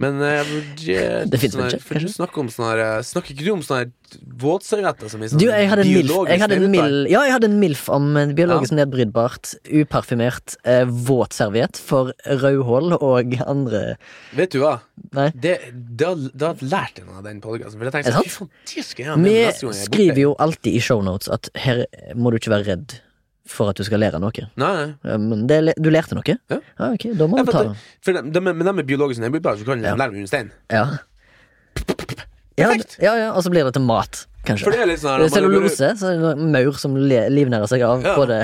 [SPEAKER 1] Men eh, jeg vurderer
[SPEAKER 2] Det finnes
[SPEAKER 1] sånn her-
[SPEAKER 2] vel ikke,
[SPEAKER 1] for du
[SPEAKER 2] kanskje?
[SPEAKER 1] Snakker, om sånn her, eh, snakker ikke du om sånne her våtservietter som i sånn
[SPEAKER 2] Du, jeg hadde en milf,
[SPEAKER 1] biologisk
[SPEAKER 2] jeg hadde en
[SPEAKER 1] nedbrytbar?
[SPEAKER 2] milf, ja, jeg hadde en milf om en biologisk nedbrytbart, uparfymert, eh, våt serviett for rødhål og andre
[SPEAKER 1] Vet du hva?
[SPEAKER 2] Nei.
[SPEAKER 1] Det, da, da lærte jeg noe av den podkasten. For jeg
[SPEAKER 2] Er det
[SPEAKER 1] tenkte
[SPEAKER 2] sant?
[SPEAKER 1] sånn, fy faen, det skal jeg ha med neste
[SPEAKER 2] Vi
[SPEAKER 1] gang jeg er borte.
[SPEAKER 2] skriver jo alltid i shownotes at her må du ikke være redd for at du skal lære noe.
[SPEAKER 1] Nei, nei.
[SPEAKER 2] Ja, Men det, le- du lærte noe? Ah,
[SPEAKER 1] Ja.
[SPEAKER 2] ok, da må
[SPEAKER 1] Ja,
[SPEAKER 2] du
[SPEAKER 1] for
[SPEAKER 2] ta
[SPEAKER 1] at
[SPEAKER 2] den.
[SPEAKER 1] det- For de, de, men de er biologisk nedbrytbare, så kan de
[SPEAKER 2] Ja.
[SPEAKER 1] lære dem under stein.
[SPEAKER 2] Ja. Ja,
[SPEAKER 1] Perfekt.
[SPEAKER 2] ja, ja, og så blir det til mat, kanskje.
[SPEAKER 1] For det er litt sånn her,
[SPEAKER 2] Det er
[SPEAKER 1] man burde-
[SPEAKER 2] Cellulose, så er det noen maur som le- livnærer seg av
[SPEAKER 1] Ja.
[SPEAKER 2] både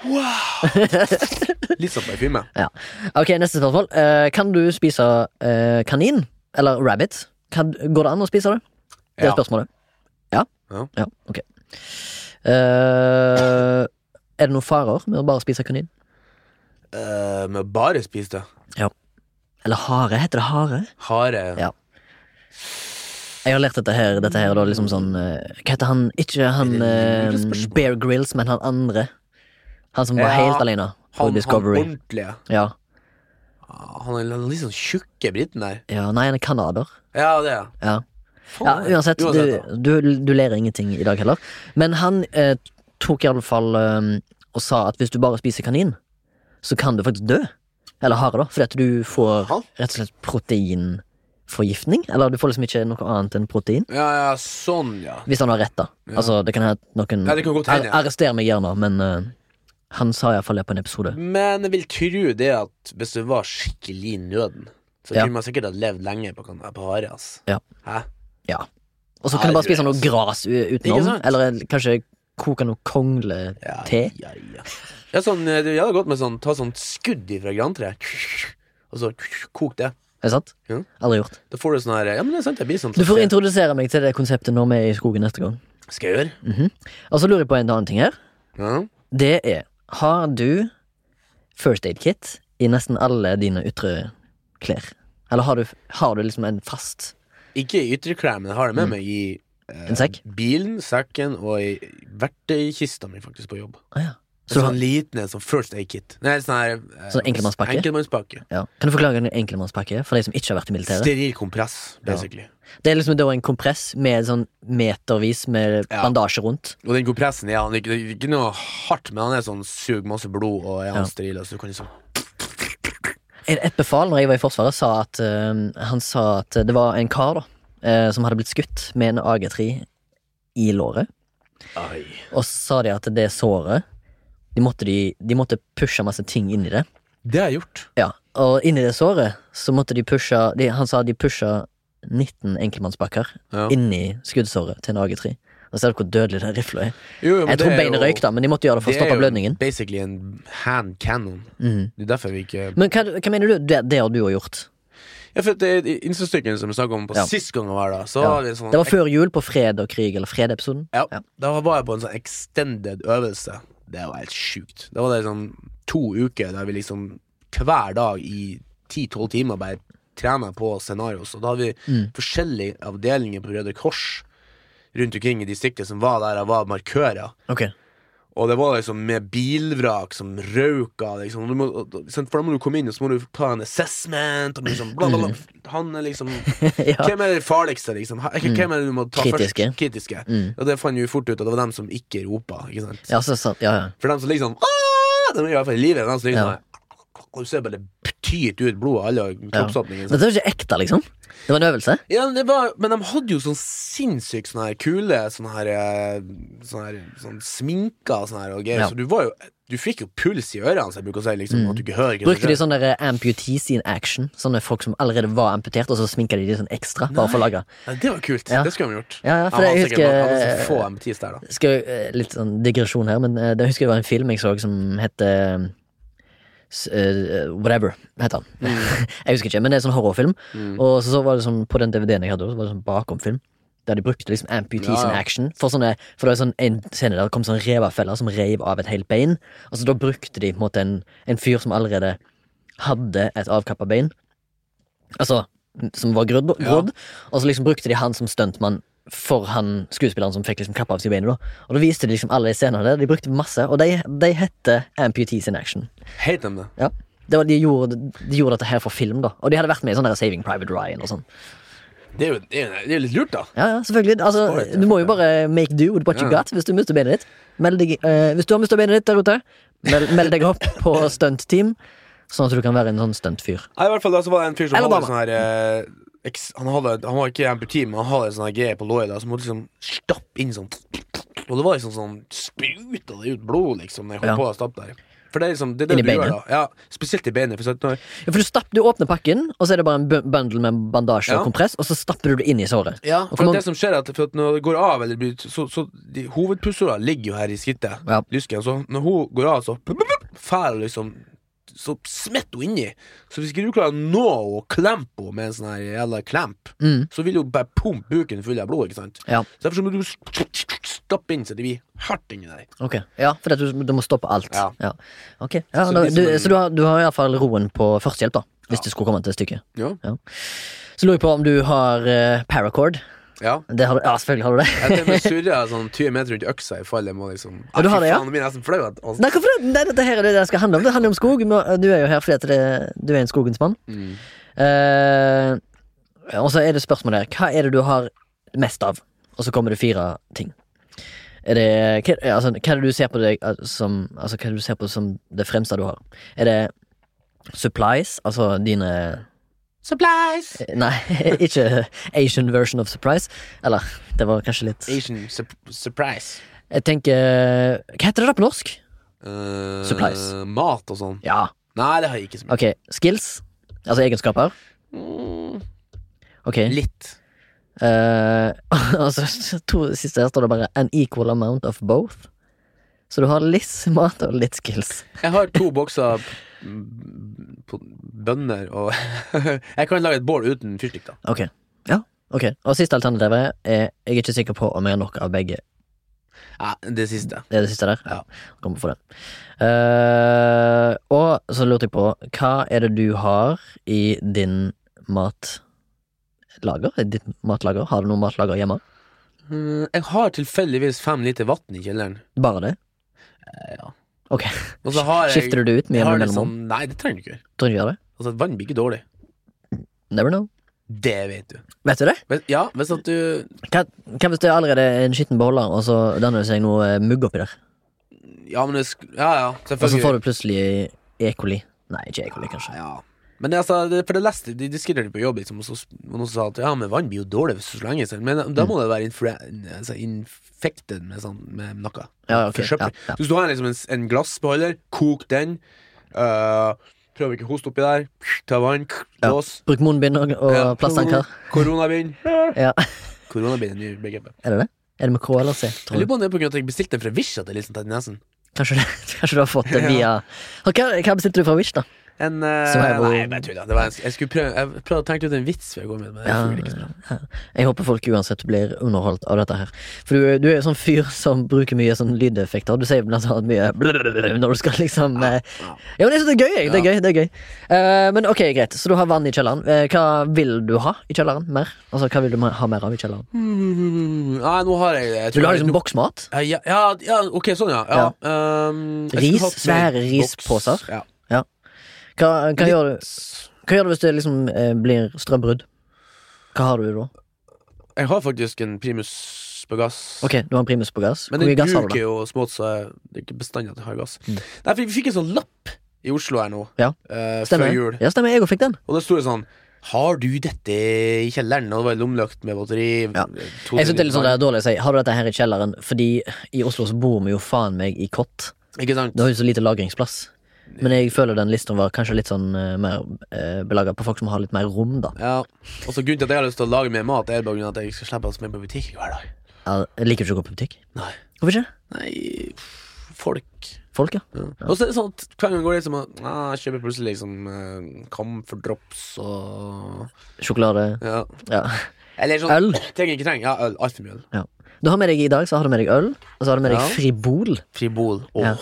[SPEAKER 1] Litt sånn parfyme.
[SPEAKER 2] ja. Ok, neste spørsmål. Eh, kan du spise eh, kanin? Eller rabbit? Kan, går det an å spise det? Det er
[SPEAKER 1] Ja.
[SPEAKER 2] spørsmålet. Ja?
[SPEAKER 1] Ja.
[SPEAKER 2] ok. Eh, er det noen farer med å bare spise kanin?
[SPEAKER 1] Eh, men bare spis det.
[SPEAKER 2] Eller hare? Heter det hare?
[SPEAKER 1] Hare.
[SPEAKER 2] Ja. Jeg har lært dette her, dette her da, liksom sånn eh, Hva heter han? Ikke han
[SPEAKER 1] Er det
[SPEAKER 2] eh,
[SPEAKER 1] lure spørsmål?
[SPEAKER 2] Bear Grills, men han andre. Han som var
[SPEAKER 1] Ja,
[SPEAKER 2] helt alene på
[SPEAKER 1] Han, han
[SPEAKER 2] Discovery.
[SPEAKER 1] ordentlige.
[SPEAKER 2] Ja.
[SPEAKER 1] Han er litt sånn tjukke briten der.
[SPEAKER 2] ja. Nei, han er canadier.
[SPEAKER 1] Ja, det er
[SPEAKER 2] Ja. ja,
[SPEAKER 1] Faen, det er-
[SPEAKER 2] uansett,
[SPEAKER 1] uansett da.
[SPEAKER 2] du, du, du ler ingenting i dag heller. Men han eh, tok iallfall eh, og sa at hvis du bare spiser kanin, så kan du faktisk dø. Eller hare, da. Fordi at du får
[SPEAKER 1] Hæ?
[SPEAKER 2] rett og slett protein forgiftning. Eller du får liksom ikke noe annet enn protein.
[SPEAKER 1] Ja, ja, sånn, ja.
[SPEAKER 2] Hvis han har rett, da.
[SPEAKER 1] Ja.
[SPEAKER 2] Altså, det kan hende at noen
[SPEAKER 1] Ja, det kan godt hende, ja.
[SPEAKER 2] Ar- Arrester meg gjerne, men eh, han sa iallfall det på en episode.
[SPEAKER 1] Men jeg vil tro det at hvis det var skikkelig i nøden, så
[SPEAKER 2] Ja.
[SPEAKER 1] kunne man sikkert ha levd lenge på, kan- på Hare, ass.
[SPEAKER 2] Ja.
[SPEAKER 1] Hæ?
[SPEAKER 2] Ja. Og så
[SPEAKER 1] Ja,
[SPEAKER 2] kan du bare
[SPEAKER 1] det
[SPEAKER 2] spise
[SPEAKER 1] tror
[SPEAKER 2] noe
[SPEAKER 1] jeg,
[SPEAKER 2] gras u-
[SPEAKER 1] Ikke
[SPEAKER 2] utenom.
[SPEAKER 1] sant?
[SPEAKER 2] Eller en- kanskje koke noe
[SPEAKER 1] Ja,
[SPEAKER 2] konglete.
[SPEAKER 1] Ja, ja. ja sånn, eh, det hadde gått med sånn Ta sånn skudd ifra grantreet, og så kok det.
[SPEAKER 2] Er det sant?
[SPEAKER 1] Ja.
[SPEAKER 2] Aldri gjort.
[SPEAKER 1] Da får du sånn her Ja, men det er sant, det blir sånn
[SPEAKER 2] Du får introdusere meg til det konseptet når vi er i skogen neste gang.
[SPEAKER 1] Skal jeg gjøre?
[SPEAKER 2] Og så lurer jeg på en annen ting her.
[SPEAKER 1] Ja.
[SPEAKER 2] Det er Har du first aid kit i nesten alle dine ytre klær? Eller har du, har du liksom en fast
[SPEAKER 1] Ikke i ytterklær, men jeg har det med meg i eh,
[SPEAKER 2] Mm. En sekk?
[SPEAKER 1] bilen, sekken og i verktøykista mi, faktisk, på jobb.
[SPEAKER 2] Å Ah, ja.
[SPEAKER 1] Så
[SPEAKER 2] Så du har,
[SPEAKER 1] sånn liten en sånn first aid kit. Nei, sånn her eh,
[SPEAKER 2] Sånn enkeltmannspakke?
[SPEAKER 1] Enkeltmannspakke.
[SPEAKER 2] ja. Kan du forklare en enkelmannspakke for de som ikke har vært i militæret?
[SPEAKER 1] Steril kompress, basically.
[SPEAKER 2] Det er liksom da en kompress med sånn metervis med
[SPEAKER 1] Ja.
[SPEAKER 2] bandasje rundt.
[SPEAKER 1] Og den kompressen ja, han er ikke, det er ikke noe hardt, men han er sånn sug masse blod og er han
[SPEAKER 2] Ja.
[SPEAKER 1] steril. og Så du kan liksom
[SPEAKER 2] Et et befal når jeg var i Forsvaret, sa at eh, han sa at det var en kar da eh, som hadde blitt skutt med en AG3 i låret.
[SPEAKER 1] Ai.
[SPEAKER 2] Og så sa de at det såret De måtte, de, de måtte pushe masse ting inn i det.
[SPEAKER 1] Det har jeg gjort.
[SPEAKER 2] Ja, og inni det såret så måtte de pushe de, Han sa de pusha 19 enkeltmannspakker
[SPEAKER 1] Ja.
[SPEAKER 2] inni skuddsåret til en AG3. Og ser du hvor dødelig den rifla er?
[SPEAKER 1] Jo, jo, men
[SPEAKER 2] Jeg
[SPEAKER 1] det
[SPEAKER 2] tror
[SPEAKER 1] er
[SPEAKER 2] beinet
[SPEAKER 1] jo-
[SPEAKER 2] røyk, da, men de måtte gjøre det for å
[SPEAKER 1] det er
[SPEAKER 2] stoppe
[SPEAKER 1] jo
[SPEAKER 2] blødningen.
[SPEAKER 1] Basically en hand cannon.
[SPEAKER 2] Mhm.
[SPEAKER 1] Det er derfor vi ikke
[SPEAKER 2] Men hva, hva mener du? Det, det har du jo gjort.
[SPEAKER 1] Ja, for det er innsatsstyrken som vi snakket om på
[SPEAKER 2] Ja.
[SPEAKER 1] sist gang jeg var her, da. Så
[SPEAKER 2] Ja.
[SPEAKER 1] var vi sånn
[SPEAKER 2] Det var før jul på Fred og krig, eller Fred-episoden.
[SPEAKER 1] ja,
[SPEAKER 2] Ja.
[SPEAKER 1] Da var jeg på en sånn extended øvelse. Det var helt sjukt. Da var det sånn to uker der vi liksom hver dag i ti-tolv timer bare trena på scenarios. Og da hadde vi forskjellige avdelinger på Røde Kors rundt omkring i distriktet som var der og var markører.
[SPEAKER 2] Ok.
[SPEAKER 1] Og det var liksom med bilvrak som røyka liksom. Og du må, og- og- sant, For da må du komme inn og så må du ta en assessment og liksom bla, bla, bla. Han er liksom
[SPEAKER 2] ja. Mm.
[SPEAKER 1] Hvem er det farligste, liksom? Ha- Hvem er det du må ta
[SPEAKER 2] Kritiske. Mm.
[SPEAKER 1] først? Kritiske. Og det fant vi jo fort ut at det var dem som ikke ropa. Ikke sant?
[SPEAKER 2] Ja, så, sant, ja, ja.
[SPEAKER 1] For dem som liksom «Åh!» De er i hvert fall i live. dem som Liksom,
[SPEAKER 2] Ja.
[SPEAKER 1] Og Du ser bare det tyter ut blod av alle kroppsåpningene.
[SPEAKER 2] Dette
[SPEAKER 1] sant?
[SPEAKER 2] var ikke ekte, liksom? Det var en øvelse?
[SPEAKER 1] Ja, men, det var, men de hadde jo sånn sinnssykt sånne her kule sånne her, eh, sånne her sånn sminker og sånne her og greier.
[SPEAKER 2] Ja.
[SPEAKER 1] Så du var jo Du fikk jo puls i ørene, som jeg bruker å si. Liksom, At du ikke hører hva som
[SPEAKER 2] Brukte de
[SPEAKER 1] skjer.
[SPEAKER 2] sånne der amputees in action? Sånne folk som allerede var amputert, og så sminka de de sånn ekstra? Bare for å lage
[SPEAKER 1] Nei, Det var kult.
[SPEAKER 2] Ja.
[SPEAKER 1] Det skulle de gjort.
[SPEAKER 2] Ja, ja, for
[SPEAKER 1] han
[SPEAKER 2] jeg
[SPEAKER 1] var sikkert
[SPEAKER 2] husker-
[SPEAKER 1] han var så få MTs der, da.
[SPEAKER 2] skal, eh, Litt sånn digresjon her, men eh, det husker jeg var en film jeg så som het eh, s- eh, Whatever, heter han.
[SPEAKER 1] Mm.
[SPEAKER 2] jeg husker ikke, men det er en sånn horrorfilm. Og så, så var det sånn, på den DVD-en jeg hadde, så var det sånn bakomfilm. Der de brukte liksom amputees
[SPEAKER 1] Ja, ja.
[SPEAKER 2] in action. For, sånne, for det var sånn en scene der det kom sånn revefeller som reiv av et helt bein. Og så da brukte de på en måte en, en fyr som allerede hadde et avkappa bein. Altså, som var grodd, grodd. Og så liksom brukte de han som stuntmann for han skuespilleren som fikk liksom kappa av seg beinet. da Og da viste de liksom alle de scenene der. De brukte masse, og de, de heter Amputees in Action.
[SPEAKER 1] Helt dem det.
[SPEAKER 2] Ja det var, de, gjorde, de gjorde dette her for film, da. Og de hadde vært med i sånn der Saving Private Ryan og sånn.
[SPEAKER 1] Det er jo det er, jo- det er jo litt lurt, da.
[SPEAKER 2] Ja, ja, selvfølgelig. Altså,
[SPEAKER 1] Smart, ja.
[SPEAKER 2] du må jo bare make do with what you
[SPEAKER 1] Ja.
[SPEAKER 2] got hvis du mister beinet ditt. Meld deg, eh, hvis du har mista beinet ditt der ute, meld, meld deg opp på stuntteam, sånn at du kan være en sånn stuntfyr.
[SPEAKER 1] Nei, i hvert fall da så var det en fyr som
[SPEAKER 2] Eller
[SPEAKER 1] hadde
[SPEAKER 2] dame.
[SPEAKER 1] sånn her eh, eks, han, hadde, han var ikke amputi, men han hadde en sånn her greie på låret da, som måtte liksom stappe inn sånn Og det var liksom sånn Spruta det ut blod, liksom, når jeg holdt
[SPEAKER 2] Ja.
[SPEAKER 1] på å stappe der. For det er liksom det, er det
[SPEAKER 2] Inn i
[SPEAKER 1] du gjør, da.
[SPEAKER 2] beinet?
[SPEAKER 1] Ja, spesielt i beinet. For sånn, når,
[SPEAKER 2] Ja, for du, stapp, du åpner pakken, og så er det bare en bu- bundle med bandasje
[SPEAKER 1] Ja.
[SPEAKER 2] og kompress, og så stapper du det inn i såret.
[SPEAKER 1] ja,
[SPEAKER 2] Og
[SPEAKER 1] for
[SPEAKER 2] hvor
[SPEAKER 1] at det som skjer, er at, for at når det går av, eller blir Så, så de, hovedpulsåra ligger jo her i skrittet,
[SPEAKER 2] Ja.
[SPEAKER 1] lysken, så når hun går av, så pup, pup, pup, fær liksom så smetter hun inni. Så hvis ikke du klarer å nå henne og klempe henne med en sånn her jævla klemp,
[SPEAKER 2] Mm.
[SPEAKER 1] så vil hun bare pumpe buken full av blod. ikke sant?
[SPEAKER 2] Ja,
[SPEAKER 1] Så Derfor så må du stappe inn så det blir hardt inni deg.
[SPEAKER 2] ok. Ja, for at du, du må stoppe alt.
[SPEAKER 1] Ja.
[SPEAKER 2] Ok. Ja,
[SPEAKER 1] Så
[SPEAKER 2] da,
[SPEAKER 1] det er som
[SPEAKER 2] du,
[SPEAKER 1] en-
[SPEAKER 2] så du har, du har iallfall roen på førstehjelp, da. Hvis det skulle komme til stykket.
[SPEAKER 1] Ja.
[SPEAKER 2] Så lurer jeg på om du har eh, paracord.
[SPEAKER 1] ja.
[SPEAKER 2] Det har du, ja, selvfølgelig har du det.
[SPEAKER 1] Jeg til og med surra sånn 20 meter rundt øksa i fall jeg må liksom
[SPEAKER 2] Ja, du har det, ja?
[SPEAKER 1] Faen, jeg blir nesten flau. at- altså.
[SPEAKER 2] Nei, hvorfor det? Nei, dette her er det det skal handle om. Det handler om skog. men Du er jo her fordi at det, du er en skogens mann. Eh, og så er det spørsmålet her. Hva er det du har mest av? Og så kommer det fire ting. Er det, hva, altså, hva er det du ser på deg eh, som Altså, hva er det du ser på som det fremste du har? Er det supplies, altså dine
[SPEAKER 1] Supplies!
[SPEAKER 2] Nei, ikke Asian version of surprise. Eller, det var kanskje litt
[SPEAKER 1] Asian sup surprise.
[SPEAKER 2] Jeg tenker Hva heter det da på norsk?
[SPEAKER 1] Eh,
[SPEAKER 2] Supplies.
[SPEAKER 1] Mat og sånn.
[SPEAKER 2] Ja,
[SPEAKER 1] Nei, det har jeg ikke så mye.
[SPEAKER 2] ok. Skills. Altså egenskaper. Ok.
[SPEAKER 1] Litt.
[SPEAKER 2] Eh, altså, to siste her står det bare 'an equal amount of both'. Så du har litt mat og litt skills.
[SPEAKER 1] Jeg har to bokser mm, på- bønner og Jeg kan lage et bål uten fyrstikk, da.
[SPEAKER 2] Ok. Ja. Ok. Og siste alternativet er Jeg er ikke sikker på om jeg har nok av begge.
[SPEAKER 1] Ja, det siste.
[SPEAKER 2] Det er det siste der?
[SPEAKER 1] Ja.
[SPEAKER 2] Kommer for det. Eh, og så lurte jeg på Hva er det du har i din matlager? I ditt matlager? Har du noe matlager hjemme?
[SPEAKER 1] Mm, Jeg har tilfeldigvis fem liter vann i kjelleren.
[SPEAKER 2] Bare det?
[SPEAKER 1] ja.
[SPEAKER 2] Ok.
[SPEAKER 1] Og så har jeg,
[SPEAKER 2] Skifter du det ut med
[SPEAKER 1] jeg har
[SPEAKER 2] jevne
[SPEAKER 1] litt
[SPEAKER 2] mellomrom?
[SPEAKER 1] sånn- Nei, det trenger du ikke.
[SPEAKER 2] Tror du ikke gjør det?
[SPEAKER 1] Altså, vann blir ikke dårlig.
[SPEAKER 2] Never know.
[SPEAKER 1] Det vet du.
[SPEAKER 2] Vet du det?
[SPEAKER 1] Hvis- Ja, hvis at du
[SPEAKER 2] Hva, hva hvis det allerede er en skitten beholder, og så danner det seg noe eh, mugg oppi der?
[SPEAKER 1] Ja, men det sk Ja, ja,
[SPEAKER 2] Og så
[SPEAKER 1] selvfølgelig.
[SPEAKER 2] får du plutselig E. coli. Nei, ikke E. coli, kanskje.
[SPEAKER 1] Ja. Men det, altså, det, for det leste de diskuterte på jobb, liksom, og så s- og noen sa at ja, men vann blir jo dårlig hvis du slenger seg. Men
[SPEAKER 2] Mm.
[SPEAKER 1] da må det være infre- altså, infected med, sånn, med noe.
[SPEAKER 2] Ja, ok.
[SPEAKER 1] Forsøpling.
[SPEAKER 2] Ja, ja.
[SPEAKER 1] Så Hvis du har liksom en, s- en glassbeholder, kok den. øh, prøv ikke å hoste oppi der. Ta vann, k-
[SPEAKER 2] Ja.
[SPEAKER 1] lås.
[SPEAKER 2] Bruk munnbind og, og
[SPEAKER 1] Ja.
[SPEAKER 2] plastanker.
[SPEAKER 1] Koronabind.
[SPEAKER 2] Ja.
[SPEAKER 1] Koronabind er nye begrepet.
[SPEAKER 2] Er det det? Er det med K eller C?
[SPEAKER 1] Jeg
[SPEAKER 2] Tror
[SPEAKER 1] lurer
[SPEAKER 2] du?
[SPEAKER 1] på om det er på grunn av at jeg bestilte den fra Wish at jeg liksom tatt i nesen.
[SPEAKER 2] Kanskje, det, kanskje du har fått det via Og Hva, hva bestilte du fra Wish, da?
[SPEAKER 1] En, øh,
[SPEAKER 2] Survival-
[SPEAKER 1] nei, men jeg tuller. Det var en, jeg skulle prøve Jeg prøvde å tenke ut en vits før jeg går med, men det
[SPEAKER 2] Ja,
[SPEAKER 1] funker ikke så bra.
[SPEAKER 2] ja. Jeg håper folk uansett blir underholdt av dette her. For du, du er jo sånn fyr som bruker mye sånn lydeffekter. Du sier blant annet mye blablabla når du skal liksom eh, Ja, men jeg synes det er gøy. jeg. Det er gøy, det er gøy. Eh, men ok, greit. Så du har vann i kjelleren. Eh, hva vil du ha i kjelleren mer? Altså, hva vil du ha mer av i kjelleren?
[SPEAKER 1] Mm, Nei, nå har jeg jeg tror
[SPEAKER 2] Vil du ha
[SPEAKER 1] jeg-
[SPEAKER 2] liksom boksmat?
[SPEAKER 1] Ja, ja, ja, ja, ok, sånn, ja. ja. ehm, jeg
[SPEAKER 2] Ris,
[SPEAKER 1] skulle hatt mer
[SPEAKER 2] svære risposer.
[SPEAKER 1] boks. Ja.
[SPEAKER 2] Hva, hva,
[SPEAKER 1] Litt-
[SPEAKER 2] gjør du, hva gjør du hvis det liksom eh, blir strømbrudd? Hva har du da?
[SPEAKER 1] Jeg har faktisk en primus på gass.
[SPEAKER 2] Ok, du har en primus på gass. Hvor
[SPEAKER 1] Men den
[SPEAKER 2] mye gass har du
[SPEAKER 1] bruker
[SPEAKER 2] da? Mm.
[SPEAKER 1] jo smått, så jeg- det er ikke bestandig at jeg har gass. Nei, for Vi fikk en sånn lapp i Oslo her nå,
[SPEAKER 2] Ja.
[SPEAKER 1] eh,
[SPEAKER 2] Stemmer
[SPEAKER 1] før
[SPEAKER 2] det?
[SPEAKER 1] jul,
[SPEAKER 2] Ja, stemmer. Jeg òg fikk den.
[SPEAKER 1] og det sto det sånn har du dette i kjelleren? Og det var en lommelykt med batteri.
[SPEAKER 2] Ja. Jeg synes det er litt sånn det er dårlig å si Har du dette her i kjelleren? Fordi i Oslo så bor vi jo faen meg i kott.
[SPEAKER 1] Ikke sant?
[SPEAKER 2] Du har jo så lite lagringsplass. Men jeg føler den lista var kanskje litt sånn eh, mer uh, belaga på folk som har litt mer rom, da.
[SPEAKER 1] Ja. Og så Grunnen til at jeg har lyst til å lage mer mat, er bare grunnen til at jeg skal slippe å smelle på butikk hver dag.
[SPEAKER 2] Ja, Jeg liker ikke å gå på butikk.
[SPEAKER 1] Nei,
[SPEAKER 2] Hvorfor ikke?
[SPEAKER 1] Nei pff, folk
[SPEAKER 2] Folk, ja.
[SPEAKER 1] Og så er det sånn at hver gang går det liksom at ah, Jeg kjøper plutselig liksom eh, Comfort drops og
[SPEAKER 2] Sjokolade.
[SPEAKER 1] ja.
[SPEAKER 2] Ja.
[SPEAKER 1] Eller sånn
[SPEAKER 2] Øl.
[SPEAKER 1] Ting jeg ikke trenger. Ja, øl. Altfor mye øl.
[SPEAKER 2] ja. Du har med deg i dag så har du med deg øl, og så har du med deg
[SPEAKER 1] Ja.
[SPEAKER 2] Fribol.
[SPEAKER 1] Fribol. Åh.
[SPEAKER 2] Ja.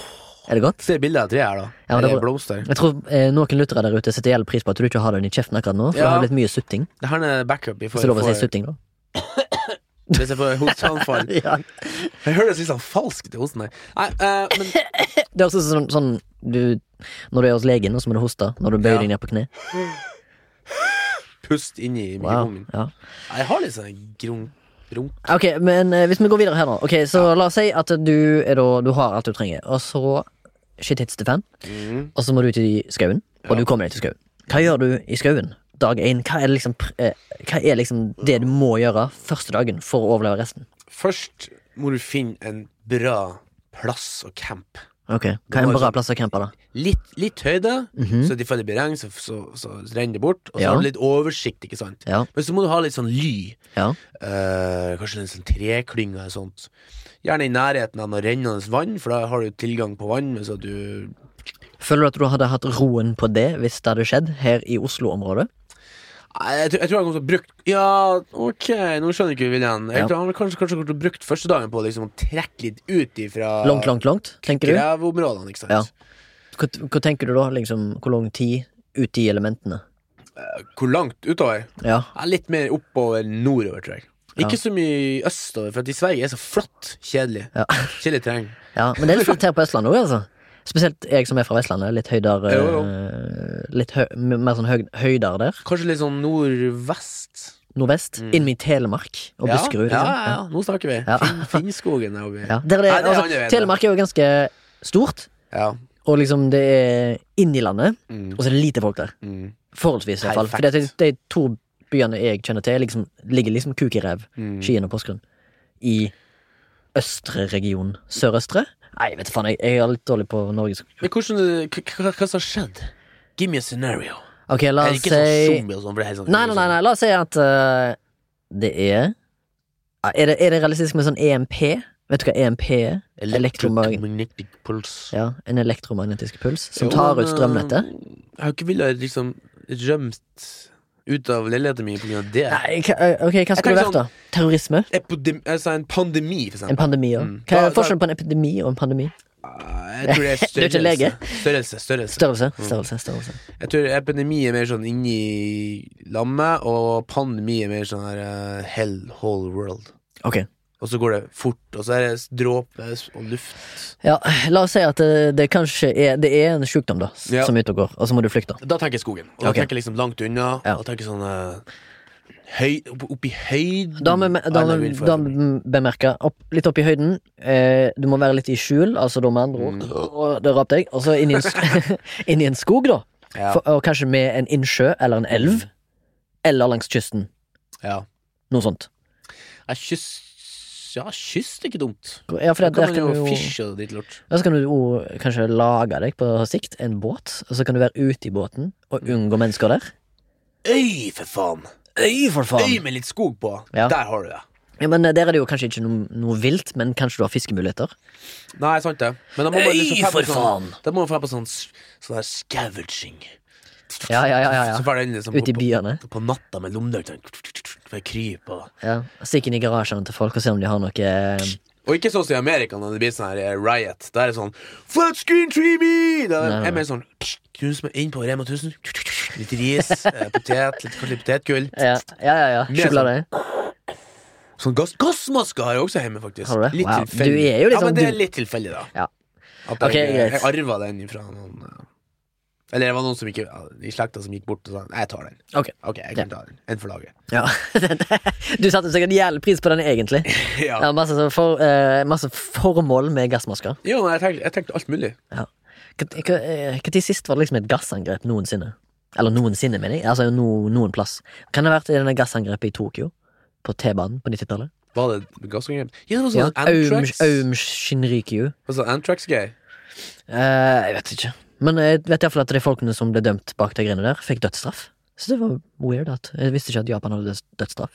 [SPEAKER 2] Er det godt?
[SPEAKER 1] Se bildet av treet her, da.
[SPEAKER 2] Ja, men det
[SPEAKER 1] Eller
[SPEAKER 2] var-
[SPEAKER 1] blomster.
[SPEAKER 2] Jeg tror eh, noen lyttere der ute setter jævlig pris på at du ikke har den i kjeften akkurat nå. For
[SPEAKER 1] Ja.
[SPEAKER 2] det har blitt mye sutting.
[SPEAKER 1] Det her er backup. i
[SPEAKER 2] Så
[SPEAKER 1] for-
[SPEAKER 2] det er lov å si
[SPEAKER 1] for-
[SPEAKER 2] sutting, da.
[SPEAKER 1] Hvis jeg får hosteanfall.
[SPEAKER 2] Ja.
[SPEAKER 1] Jeg høres litt sånn falsk ut i hosten her. Nei, eh, men
[SPEAKER 2] Det er også sånn, sånn du, Når du er hos legen, og så må du hoste når du bøyer
[SPEAKER 1] Ja.
[SPEAKER 2] deg ned på kne.
[SPEAKER 1] pust inni
[SPEAKER 2] Wow.
[SPEAKER 1] mikrofonen min.
[SPEAKER 2] Ja.
[SPEAKER 1] Jeg har litt sånn grunk... Grunk.
[SPEAKER 2] Ok, men eh, hvis vi går videre her nå. Ok, Så la oss si at du, er da, du har alt du trenger, og så shit hits the fan.
[SPEAKER 1] Mm.
[SPEAKER 2] Og så må du ut i skauen, og
[SPEAKER 1] Ja.
[SPEAKER 2] du kommer deg til skauen. Hva gjør du i skauen? Dag én. Hva er, det liksom, pr- eh, hva er liksom det du må gjøre første dagen for å overleve resten?
[SPEAKER 1] Først må du finne en bra plass å campe.
[SPEAKER 2] Ok, Hva er en bra plass å campe, da?
[SPEAKER 1] litt, litt høyde,
[SPEAKER 2] Mhm.
[SPEAKER 1] så tilfeldig blir regn, så, så, så renner det bort. Og så
[SPEAKER 2] Ja.
[SPEAKER 1] har du litt oversikt, ikke sant.
[SPEAKER 2] Ja,
[SPEAKER 1] Men så må du ha litt sånn ly.
[SPEAKER 2] ja.
[SPEAKER 1] eh, kanskje en sånn treklynge eller sånt. Gjerne i nærheten av noe rennende vann, for da har du tilgang på vann. Hvis at du
[SPEAKER 2] Føler du at du hadde hatt roen på det hvis det hadde skjedd her i Oslo-området?
[SPEAKER 1] Nei, jeg, tror- jeg tror han kommer til å bruke Ja, ok, nå skjønner jeg ikke William. Jeg
[SPEAKER 2] Ja.
[SPEAKER 1] tror han kanskje, kanskje kommer til å bruke første dagen på å liksom, trekke litt ut ifra
[SPEAKER 2] Langt, langt, langt, tenker du?
[SPEAKER 1] Greveområdene, ikke sant.
[SPEAKER 2] Ja. Hva, hva tenker du da? Liksom, hvor lang tid ut i elementene?
[SPEAKER 1] Hvor langt utover?
[SPEAKER 2] Ja,
[SPEAKER 1] Ja, litt mer oppover nordover, tror jeg.
[SPEAKER 2] Ja.
[SPEAKER 1] Ikke så mye østover, for at i Sverige er så flatt. Kjedelig.
[SPEAKER 2] Ja.
[SPEAKER 1] Kjedelig terreng.
[SPEAKER 2] ja. Men det er litt flatt her på Østlandet òg, altså. Spesielt jeg som er fra Vestlandet. Litt høyder
[SPEAKER 1] Jo, jo.
[SPEAKER 2] eh, Litt hø mer sånn høy høyder der.
[SPEAKER 1] Kanskje litt sånn nordvest.
[SPEAKER 2] Nordvest.
[SPEAKER 1] Mm.
[SPEAKER 2] Inn i Telemark og Buskerud.
[SPEAKER 1] Ja,
[SPEAKER 2] liksom.
[SPEAKER 1] ja, ja, nå snakker vi.
[SPEAKER 2] Ja.
[SPEAKER 1] Finn, Finnskogen er oppe.
[SPEAKER 2] Ja. Der er det,
[SPEAKER 1] Nei, det er andre
[SPEAKER 2] altså,
[SPEAKER 1] veien, da.
[SPEAKER 2] Telemark er jo ganske stort,
[SPEAKER 1] Ja.
[SPEAKER 2] Og liksom det er inn i landet,
[SPEAKER 1] Mm,
[SPEAKER 2] og så er det lite folk der.
[SPEAKER 1] mm,
[SPEAKER 2] Forholdsvis, i hvert fall. For det,
[SPEAKER 1] Perfekt.
[SPEAKER 2] de to byene jeg kjenner til, er liksom, ligger liksom kuk i ræv.
[SPEAKER 1] mm.
[SPEAKER 2] Skien og Porsgrunn. I østre region. Sørøstre? Nei, vet du faen, jeg, jeg er litt dårlig på Norges
[SPEAKER 1] Men hvordan, hva, hva, hva som har skjedd? Give me a scenario.
[SPEAKER 2] Ok, la
[SPEAKER 1] Er det
[SPEAKER 2] oss si
[SPEAKER 1] ikke
[SPEAKER 2] Nei,
[SPEAKER 1] sånn zombie og sånn? for det er helt sånn-
[SPEAKER 2] nei, nei, nei, la oss si at eh, det er Ja, er det, er det realistisk med sånn EMP? Vet du hva EMP er? Elektromagn-
[SPEAKER 1] Electromagnetic pulse.
[SPEAKER 2] Ja, En elektromagnetisk puls som
[SPEAKER 1] Jo,
[SPEAKER 2] tar
[SPEAKER 1] men,
[SPEAKER 2] ut strømnettet?
[SPEAKER 1] eh, Jeg har ikke villet liksom rømt ut av leiligheten min pga. det.
[SPEAKER 2] Nei, hva- eh, ok, hva skulle det
[SPEAKER 1] tenker sånn-
[SPEAKER 2] vært, da? Terrorisme?
[SPEAKER 1] Epidem altså en pandemi, for
[SPEAKER 2] En
[SPEAKER 1] eksempel.
[SPEAKER 2] pandemi ja.
[SPEAKER 1] Mm.
[SPEAKER 2] Hva
[SPEAKER 1] Da-
[SPEAKER 2] er
[SPEAKER 1] da-
[SPEAKER 2] forskjellen på en epidemi og en pandemi?
[SPEAKER 1] Eh, Jeg tror det er
[SPEAKER 2] Du er ikke
[SPEAKER 1] størrelse.
[SPEAKER 2] lege.
[SPEAKER 1] Størrelse, størrelse.
[SPEAKER 2] Størrelse, størrelse, størrelse.
[SPEAKER 1] Jeg tror epidemi er mer sånn inni lammet, og pandemi er mer sånn her eh, hell, whole world.
[SPEAKER 2] Ok.
[SPEAKER 1] Og så går det fort, og så er det dråpe og luft.
[SPEAKER 2] Ja, la oss si at eh, det kanskje er Det er en sjukdom, da, s-
[SPEAKER 1] Ja.
[SPEAKER 2] som er ute og går, og så må du flykte.
[SPEAKER 1] Da tenker jeg skogen. Og da
[SPEAKER 2] Ok.
[SPEAKER 1] tenker jeg liksom langt unna.
[SPEAKER 2] Ja.
[SPEAKER 1] Og da tenker jeg sånn eh, høy, opp, opp i høyden.
[SPEAKER 2] Da må vi- da må
[SPEAKER 1] Eller
[SPEAKER 2] vi
[SPEAKER 1] innenfor.
[SPEAKER 2] da må vi bemerke opp, litt opp i høyden. Eh, du må være litt i skjul, altså da med andre ord.
[SPEAKER 1] Mm.
[SPEAKER 2] Og det rapte jeg. Og så inn, i en sk- inn i en skog, da.
[SPEAKER 1] Ja.
[SPEAKER 2] For, og kanskje med en innsjø eller en elv. Eller langs kysten.
[SPEAKER 1] ja.
[SPEAKER 2] Noe sånt.
[SPEAKER 1] Ja, kyss Ja, kyss det er ikke dumt.
[SPEAKER 2] Ja, for
[SPEAKER 1] Da
[SPEAKER 2] det, der
[SPEAKER 1] kan
[SPEAKER 2] kan
[SPEAKER 1] man
[SPEAKER 2] du
[SPEAKER 1] jo
[SPEAKER 2] jo
[SPEAKER 1] fishe og dritt lort.
[SPEAKER 2] Ja, så kan du jo kanskje lage deg på sikt en båt, og så kan du være ute i båten og
[SPEAKER 1] Mm.
[SPEAKER 2] unngå mennesker der.
[SPEAKER 1] Øy, for faen!
[SPEAKER 2] Øy, for
[SPEAKER 1] Øy med litt skog på!
[SPEAKER 2] Ja.
[SPEAKER 1] Der har du det.
[SPEAKER 2] Ja, men eh, Der er det jo kanskje ikke noe, noe vilt, men kanskje du har fiskemuligheter.
[SPEAKER 1] Nei, sant det. Men da må man liksom
[SPEAKER 2] Øy,
[SPEAKER 1] fære på
[SPEAKER 2] for
[SPEAKER 1] sånn,
[SPEAKER 2] faen!
[SPEAKER 1] Da må man fære på sånn, s- sånn her scavaging.
[SPEAKER 2] Ja, ja, ja, ja,
[SPEAKER 1] Så
[SPEAKER 2] ja.
[SPEAKER 1] fære den liksom
[SPEAKER 2] Ute i
[SPEAKER 1] på-
[SPEAKER 2] byene.
[SPEAKER 1] På, på natta med lommelykta. For jeg kryper og
[SPEAKER 2] Ja. Stikk inn i garasjene til folk og se om de har noe eh,
[SPEAKER 1] Og ikke sånn som i Amerika, når det blir sånn her eh, riot. Da er det sånn Flat screen treamy! Da
[SPEAKER 2] Nei,
[SPEAKER 1] er
[SPEAKER 2] nei.
[SPEAKER 1] jeg mer sånn Knus meg inn på Rema 1000. Litt ris, eh, potet, litt, kanskje litt potetgull.
[SPEAKER 2] Ja, ja, ja. ja. Sjokolade.
[SPEAKER 1] Sånn gass, gassmasker har jeg også hjemme, faktisk.
[SPEAKER 2] Har du det?
[SPEAKER 1] Litt
[SPEAKER 2] Wow.
[SPEAKER 1] tilfeldig.
[SPEAKER 2] Du er jo litt
[SPEAKER 1] Ja,
[SPEAKER 2] sånn
[SPEAKER 1] men det er
[SPEAKER 2] du-
[SPEAKER 1] litt tilfeldig, da.
[SPEAKER 2] Ja.
[SPEAKER 1] At
[SPEAKER 2] Ok,
[SPEAKER 1] jeg,
[SPEAKER 2] greit.
[SPEAKER 1] jeg arva den fra noen eh, Eller det var noen som ikke, ja, i slekta som gikk bort og sa Nei, jeg tar den.
[SPEAKER 2] Ok.
[SPEAKER 1] Ok, jeg kan ta den. En for laget.
[SPEAKER 2] Ja. Du satte sikkert jævlig pris på den, egentlig.
[SPEAKER 1] ja.
[SPEAKER 2] Ja, masse, sånn for, eh, masse formål med gassmasker.
[SPEAKER 1] Jo, men jeg tenkte, jeg tenkte alt mulig.
[SPEAKER 2] Når sist var det liksom et gassangrep noensinne? Eller noensinne, mener jeg. Altså no, noen plass. Kan det ha vært i denne gassangrepet i Tokyo? På T-banen på 90-tallet?
[SPEAKER 1] Var det gassangrep? Ja, det var
[SPEAKER 2] Ja.
[SPEAKER 1] sånn
[SPEAKER 2] Aum,
[SPEAKER 1] Antrax.
[SPEAKER 2] Aum Shinrikyu.
[SPEAKER 1] Det var Sånn Antrax-greier.
[SPEAKER 2] Eh, jeg vet ikke. Men jeg vet iallfall at de folkene som ble dømt bak de greiene der, fikk dødsstraff. Så det var weird. at Jeg visste ikke at Japan hadde døds- dødsstraff.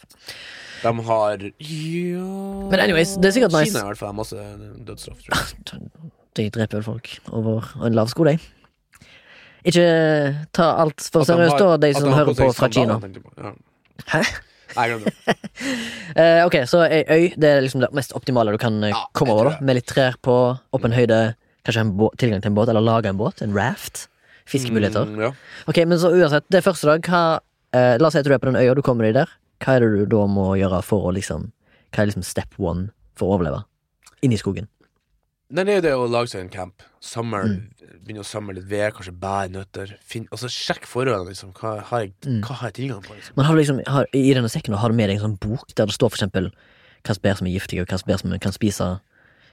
[SPEAKER 1] De har Ja
[SPEAKER 2] Men anyways, det er sikkert nice.
[SPEAKER 1] Kina i hvert fall har masse dødsstraff, tror jeg.
[SPEAKER 2] De dreper vel folk over en lav sko, de. Ikke ta alt for
[SPEAKER 1] At de
[SPEAKER 2] seriøst, da,
[SPEAKER 1] har-
[SPEAKER 2] Altså, de
[SPEAKER 1] at
[SPEAKER 2] som
[SPEAKER 1] de har
[SPEAKER 2] hører på
[SPEAKER 1] seg
[SPEAKER 2] fra Kina.
[SPEAKER 1] sandaler, tenkte jeg på. Ja.
[SPEAKER 2] Hæ?
[SPEAKER 1] Nei, glem det.
[SPEAKER 2] Eh, ok, så ei øy det er liksom det mest optimale du kan eh,
[SPEAKER 1] Ja,
[SPEAKER 2] komme
[SPEAKER 1] jeg
[SPEAKER 2] over.
[SPEAKER 1] tror
[SPEAKER 2] da
[SPEAKER 1] det.
[SPEAKER 2] Med litt trær på, opp en høyde, kanskje en båt, tilgang til en båt, eller lage en båt. En raft. Fiskemuligheter.
[SPEAKER 1] Mm, ja.
[SPEAKER 2] Ok, Men så uansett, det er første dag. Hva, eh, la oss si at du er på den øya, du kommer deg der. Hva er det du da må gjøre for å liksom Hva er liksom step one for å overleve? Inni skogen.
[SPEAKER 1] Nei, det er jo det å lage seg en camp. Samle,
[SPEAKER 2] Mm.
[SPEAKER 1] Begynne å samle litt ved, kanskje bær, nøtter. Finn, altså Sjekk forholdene, liksom. Hva har jeg,
[SPEAKER 2] Mm.
[SPEAKER 1] hva har jeg tilgang på? liksom
[SPEAKER 2] Men har du liksom, har, I denne sekken har du med deg en sånn bok der det står for eksempel hva slags bær som er giftige, og hva slags bær som kan spise.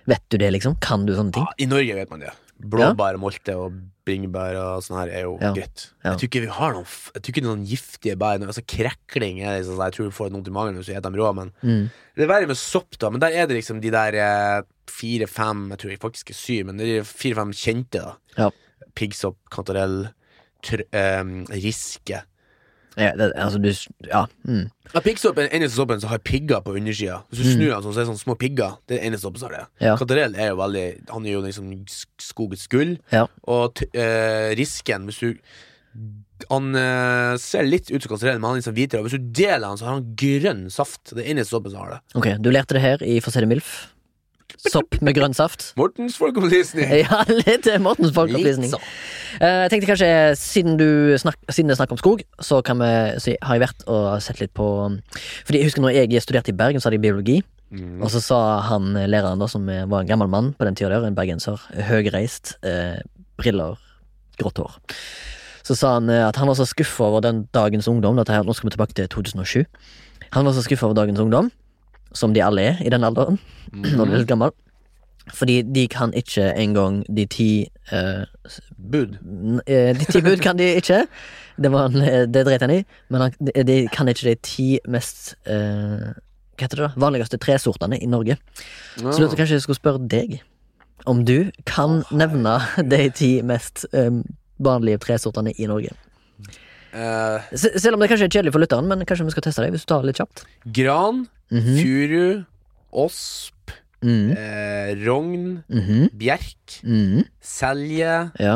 [SPEAKER 2] Vet du det, liksom? Kan du sånne ting?
[SPEAKER 1] Ja, I Norge vet man det. Blåbær, molte og bringebær og sånn her er jo
[SPEAKER 2] Ja.
[SPEAKER 1] greit.
[SPEAKER 2] Ja.
[SPEAKER 1] Jeg tror ikke vi har noen f- Jeg tror ikke det er noen giftige bær. Altså Krekling er liksom, Jeg tror du får noe i magen hvis du spiser dem rå, men
[SPEAKER 2] Mm.
[SPEAKER 1] Det er verre med sopp, da, men der er det liksom de der eh, fire-fem Jeg tror jeg faktisk er syv, men det er fire-fem kjente, da.
[SPEAKER 2] Ja.
[SPEAKER 1] Piggsopp, kantarell, tr em, riske.
[SPEAKER 2] Ja, det, altså, du, ja. Mm.
[SPEAKER 1] Ja, Piggsopp er den eneste soppen som har pigger på undersida. Hvis du snur den sånn, så er det sånne små pigger. Det er den eneste soppen som har det.
[SPEAKER 2] Ja.
[SPEAKER 1] Kantarell er jo veldig Han er jo liksom sk- skogets gull.
[SPEAKER 2] Ja.
[SPEAKER 1] Og t eh, risken, hvis du Han eh, ser litt ut som kantarell, men han er liksom hvitere. Og hvis du deler han, så har han grønn saft. Det er den eneste soppen som har det.
[SPEAKER 2] Ok, du lærte det her i For å si det milf. Sopp med grønn saft.
[SPEAKER 1] Mortens folkeopplysning!
[SPEAKER 2] Ja, litt eh, Mortens folkeopplysning.
[SPEAKER 1] Litt sånn.
[SPEAKER 2] Eh, Jeg tenkte kanskje, siden, du snakk, siden det er snakk om skog, så, kan vi, så har jeg vært og sett litt på Fordi jeg husker når jeg studerte i Bergen, så hadde jeg biologi.
[SPEAKER 1] Mm.
[SPEAKER 2] Og så sa han eh, læreren, da, som eh, var en gammel mann på den tida der, en bergenser, høyreist, eh, briller, grått hår. Så sa han eh, at han var så skuffa over den dagens ungdom dette her, Nå skal vi tilbake til 2007.
[SPEAKER 1] Mm.
[SPEAKER 2] Han var så skuffa over dagens ungdom, som de alle er i den alderen, når du er litt gammel, Fordi de kan ikke engang de ti eh,
[SPEAKER 1] Bud.
[SPEAKER 2] n- eh, De ti bud kan de ikke. Det, var han, eh, det dreit han i. Men han, de- de kan ikke de ti mest eh, Hva heter det da? vanligste tresortene i Norge. Så lurte jeg kanskje jeg skulle spørre deg om du kan nevne de ti mest eh, vanlige tresortene i Norge.
[SPEAKER 1] Eh,
[SPEAKER 2] Se- selv om det kanskje er kjedelig for lytteren, men kanskje vi skal teste deg hvis du tar det litt kjapt.
[SPEAKER 1] gran,
[SPEAKER 2] Mhm.
[SPEAKER 1] furu, osp,
[SPEAKER 2] Mm.
[SPEAKER 1] eh, rogn,
[SPEAKER 2] Mhm.
[SPEAKER 1] bjerk,
[SPEAKER 2] Mm.
[SPEAKER 1] selje,
[SPEAKER 2] Ja.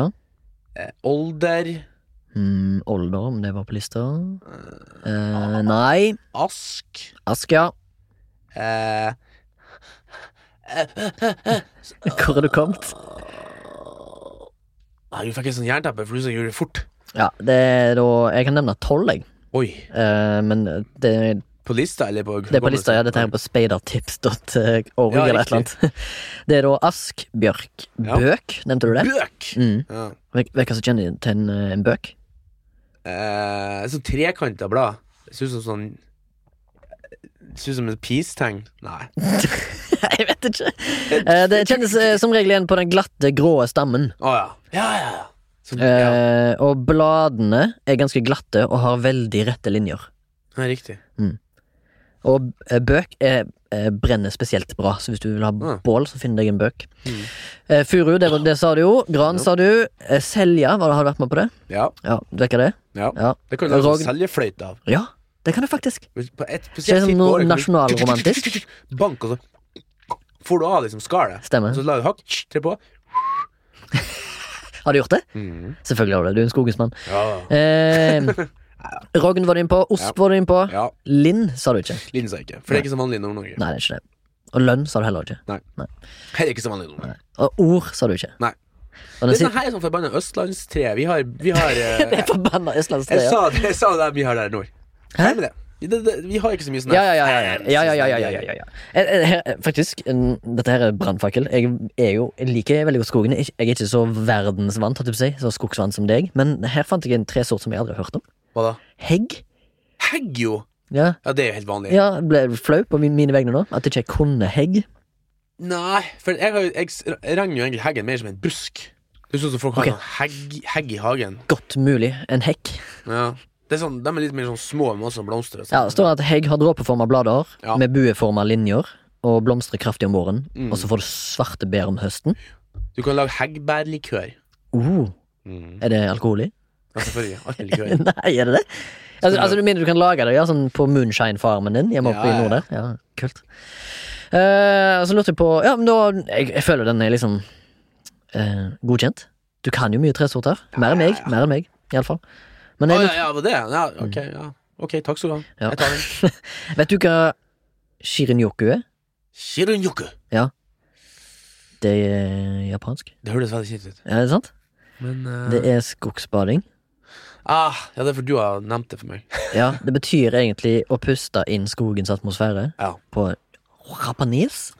[SPEAKER 1] eh, older,
[SPEAKER 2] Mm, Older, om det var på lista. Eh, nei.
[SPEAKER 1] ask
[SPEAKER 2] Ask, ja.
[SPEAKER 1] eh,
[SPEAKER 2] Hvor har du kommet?
[SPEAKER 1] Nei, Du fikk en sånn jernteppe, for du som gjorde det fort.
[SPEAKER 2] Ja, det er da Jeg kan nevne tolv, jeg.
[SPEAKER 1] Oi.
[SPEAKER 2] Eh, men det,
[SPEAKER 1] På lista, eller på
[SPEAKER 2] det er på lista. Ja, dette her er på speidertips.org
[SPEAKER 1] Ja,
[SPEAKER 2] eller et eller annet. Det er da Ask, Bjørk,
[SPEAKER 1] Ja.
[SPEAKER 2] Bøk. Nevnte du det?
[SPEAKER 1] Bøk!
[SPEAKER 2] Mm.
[SPEAKER 1] Ja.
[SPEAKER 2] Hvem hvem som kjenner til en, eh, en bøk?
[SPEAKER 1] Eh, sånn trekanta blad. Det ser ut som sånn Det ser ut som et peace-tegn. Nei.
[SPEAKER 2] jeg vet ikke. Eh, det kjennes eh, som regel igjen på den glatte, grå stammen.
[SPEAKER 1] Å ja. Ja, ja, ja. Sånn, ja.
[SPEAKER 2] Eh, og bladene er ganske glatte og har veldig rette linjer.
[SPEAKER 1] ja. Riktig.
[SPEAKER 2] Og eh, bøk er, eh, brenner spesielt bra, så hvis du vil ha
[SPEAKER 1] Ja.
[SPEAKER 2] bål, så finn deg en bøk.
[SPEAKER 1] Mm.
[SPEAKER 2] Eh, Furu, det, var- det sa du jo. Gran
[SPEAKER 1] Ja.
[SPEAKER 2] sa du. Eh, Selja, hva, har du vært med på det?
[SPEAKER 1] Ja.
[SPEAKER 2] Ja, du vet hva det er?
[SPEAKER 1] ja.
[SPEAKER 2] Ja.
[SPEAKER 1] Det kan du lage
[SPEAKER 2] Rogn.
[SPEAKER 1] sånn seljefløyte av.
[SPEAKER 2] ja, det kan du faktisk.
[SPEAKER 1] På
[SPEAKER 2] Det
[SPEAKER 1] et
[SPEAKER 2] er
[SPEAKER 1] spesielt
[SPEAKER 2] som
[SPEAKER 1] fint
[SPEAKER 2] noe
[SPEAKER 1] år, kan du-
[SPEAKER 2] nasjonalromantisk.
[SPEAKER 1] Bank, og så får du av liksom skallet.
[SPEAKER 2] Stemmer.
[SPEAKER 1] Så la du hakk, tre på. Mm,
[SPEAKER 2] Har du gjort det? Selvfølgelig har du det. Du er en skogens mann.
[SPEAKER 1] Ja.
[SPEAKER 2] Eh, Rogn var du inne på. Osp var du inne på.
[SPEAKER 1] ja.
[SPEAKER 2] Linn sa du ikke.
[SPEAKER 1] Linn sa ikke. For det er ikke så vanlig i Nord-Norge.
[SPEAKER 2] Nei, det er ikke det. Og lønn sa du heller ikke.
[SPEAKER 1] Her er ikke så vanlig i Nord-Norge.
[SPEAKER 2] Og ord sa du ikke.
[SPEAKER 1] Nei.
[SPEAKER 2] Og den
[SPEAKER 1] Det er sånn
[SPEAKER 2] siste
[SPEAKER 1] her er sånn forbanna østlandstre. Vi har, vi har eh,
[SPEAKER 2] Det er forbanna
[SPEAKER 1] Jeg
[SPEAKER 2] østlandstreet.
[SPEAKER 1] sa det, jeg sa det vi har der i nord.
[SPEAKER 2] Hæ?
[SPEAKER 1] Nei, men det. Det, det, vi har ikke så mye sånn
[SPEAKER 2] Ja, ja, ja. ja, ja, ja, ja, ja, ja, ja, ja, Eh, ja. Jeg- jeg- her- Faktisk, en- dette her er brannfakkel. Jeg er jo, jeg liker veldig godt skogen. Jeg jeg er ikke så verdensvant, holdt jeg på å si, så skogsvant som deg, men her fant jeg en tresort som jeg aldri har hørt om.
[SPEAKER 1] Hva da?
[SPEAKER 2] Hegg.
[SPEAKER 1] Hegg, jo!
[SPEAKER 2] Ja,
[SPEAKER 1] Ja, det er jo helt vanlig.
[SPEAKER 2] ja ble jeg flau på min- mine vegne nå, at jeg ikke kunne hegg.
[SPEAKER 1] Nei, for jeg, har jo- jeg s- regner jo egentlig heggen mer som en busk. Det er sånn som folk
[SPEAKER 2] Ok.
[SPEAKER 1] har sånn hegg, hegg i hagen.
[SPEAKER 2] Godt mulig en hekk.
[SPEAKER 1] Ja. Det er sånn, de er litt mer sånn små, men også blomster. og sånn.
[SPEAKER 2] Ja, det står at hegg har dråpeforma blader
[SPEAKER 1] Ja.
[SPEAKER 2] med bueforma linjer og blomstrer kraftig om våren,
[SPEAKER 1] Mm.
[SPEAKER 2] og så får du svarte bær om høsten.
[SPEAKER 1] Du kan lage heggbærlikør.
[SPEAKER 2] Oh,
[SPEAKER 1] Mm.
[SPEAKER 2] er det alkohol i?
[SPEAKER 1] Ja, selvfølgelig. Alt er likør.
[SPEAKER 2] Nei, er det det? Altså, altså Du mener du kan lage det ja, sånn på moonshine-farmen din hjemme oppe
[SPEAKER 1] Ja,
[SPEAKER 2] i
[SPEAKER 1] ja.
[SPEAKER 2] nord der? Ja, kult. Eh, så lurte jeg på Ja, men da Jeg, jeg føler den er liksom eh, godkjent. Du kan jo mye tresorter. Mer enn meg. Mer enn meg, iallfall. Men
[SPEAKER 1] Å
[SPEAKER 2] jeg,
[SPEAKER 1] ja, ja, var det? Ja, ok, ja. ok, takk skal du ha.
[SPEAKER 2] Ja.
[SPEAKER 1] Jeg tar den.
[SPEAKER 2] vet du hva shirinyoku er?
[SPEAKER 1] Shirunyoku.
[SPEAKER 2] Det er japansk.
[SPEAKER 1] Det høres veldig kjipt ut.
[SPEAKER 2] Er det sant?
[SPEAKER 1] Men
[SPEAKER 2] Det
[SPEAKER 1] eh,
[SPEAKER 2] er skogsbading.
[SPEAKER 1] ah, Ja, det er for du har nevnt det for meg.
[SPEAKER 2] Ja, Det betyr egentlig å puste inn skogens atmosfære
[SPEAKER 1] Ja.
[SPEAKER 2] på japanes.